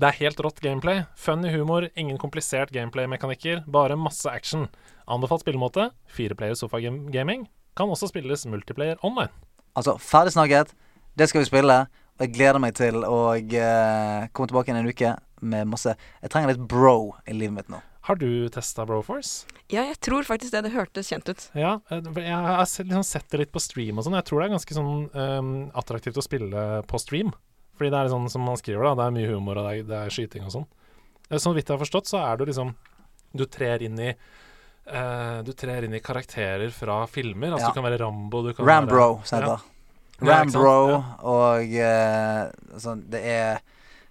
S4: Det er helt rått gameplay. Funny humor, ingen komplisert gameplay-mekanikker, bare masse action. Anbefalt spillemåte, fireplayer sofagaming. Kan også spilles multiplayer online.
S3: Altså, ferdig snakket. Det skal vi spille. Og jeg gleder meg til å eh, komme tilbake igjen en uke med masse Jeg trenger litt bro i livet mitt nå.
S4: Har du testa Broforce?
S1: Ja, jeg tror faktisk det. Det hørtes kjent ut.
S4: Ja, eh, for jeg har se- liksom sett det litt på stream og sånn. Jeg tror det er ganske sånn ehm, attraktivt å spille på stream. Fordi det er sånn som man skriver, da. Det er mye humor, og det er, det er skyting og sånn. Eh, Sånn vidt jeg har forstått, så er du liksom Du trer inn i eh, du trer inn i karakterer fra filmer. Altså
S3: Ja.
S4: Du kan være Rambo du kan være,
S3: Rambro, som det heter.
S4: Ja, ikke sant?
S3: Rambro og eh, sånn Det er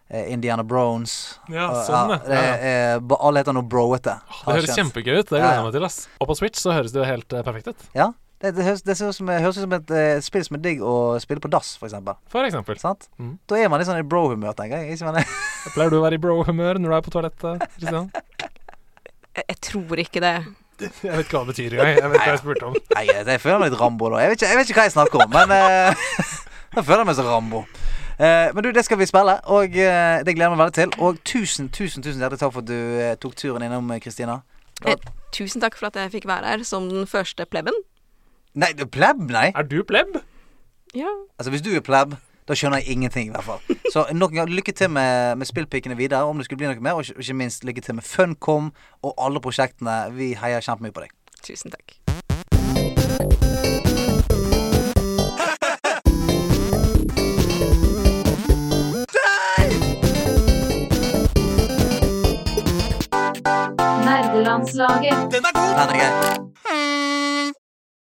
S3: eh, Indiana Browns.
S4: Ja,
S3: Og,
S4: sånn, ja.
S3: det
S4: ja. ja.
S3: er, ba- alle heter noe broete.
S4: Det høres kjempegøy ut.
S3: Ja,
S4: Det
S3: ja.
S4: gleder jeg meg til. ass Og på Switch så høres det jo helt eh, perfekt ut,
S3: Ja. Det, det høres det ser ut som, det høres ut som et eh, spill som er digg å spille på dass, for eksempel.
S4: for eksempel.
S3: Sant?
S4: Mm.
S3: Da er man litt sånn i bro-humør, tenker jeg. Ikke man er
S4: Pleier du å være i bro-humør når du er på toalettet, Kristian?
S1: Jeg, jeg tror ikke det.
S4: Jeg vet ikke hva det betyr engang. Jeg vet ikke hva jeg spurte om.
S3: Nei, jeg, jeg føler meg litt Rambo nå. Jeg vet ikke, jeg vet ikke hva jeg snakker om, men eh, jeg føler meg som Rambo. Eh, men du, det skal vi spille, og eh, det gleder jeg meg veldig til. Og tusen, tusen tusen hjertelig takk for at du eh, tok turen innom, eh, Kristina. Ja.
S1: Eh, tusen takk for at jeg fikk være her som den første plebben.
S3: Nei, du er pleb? Nei.
S4: Er du pleb?
S1: Ja.
S3: Altså, hvis du er pleb, da skjønner jeg ingenting, i hvert fall. Så nok en gang, lykke til med, med spillpikene videre, om det skulle bli noe mer. Og ikke- ikke minst lykke til med Funcom og alle prosjektene. Vi heier kjempemye på deg.
S1: Tusen takk.
S6: Nerdelandslaget.
S3: Den er grei.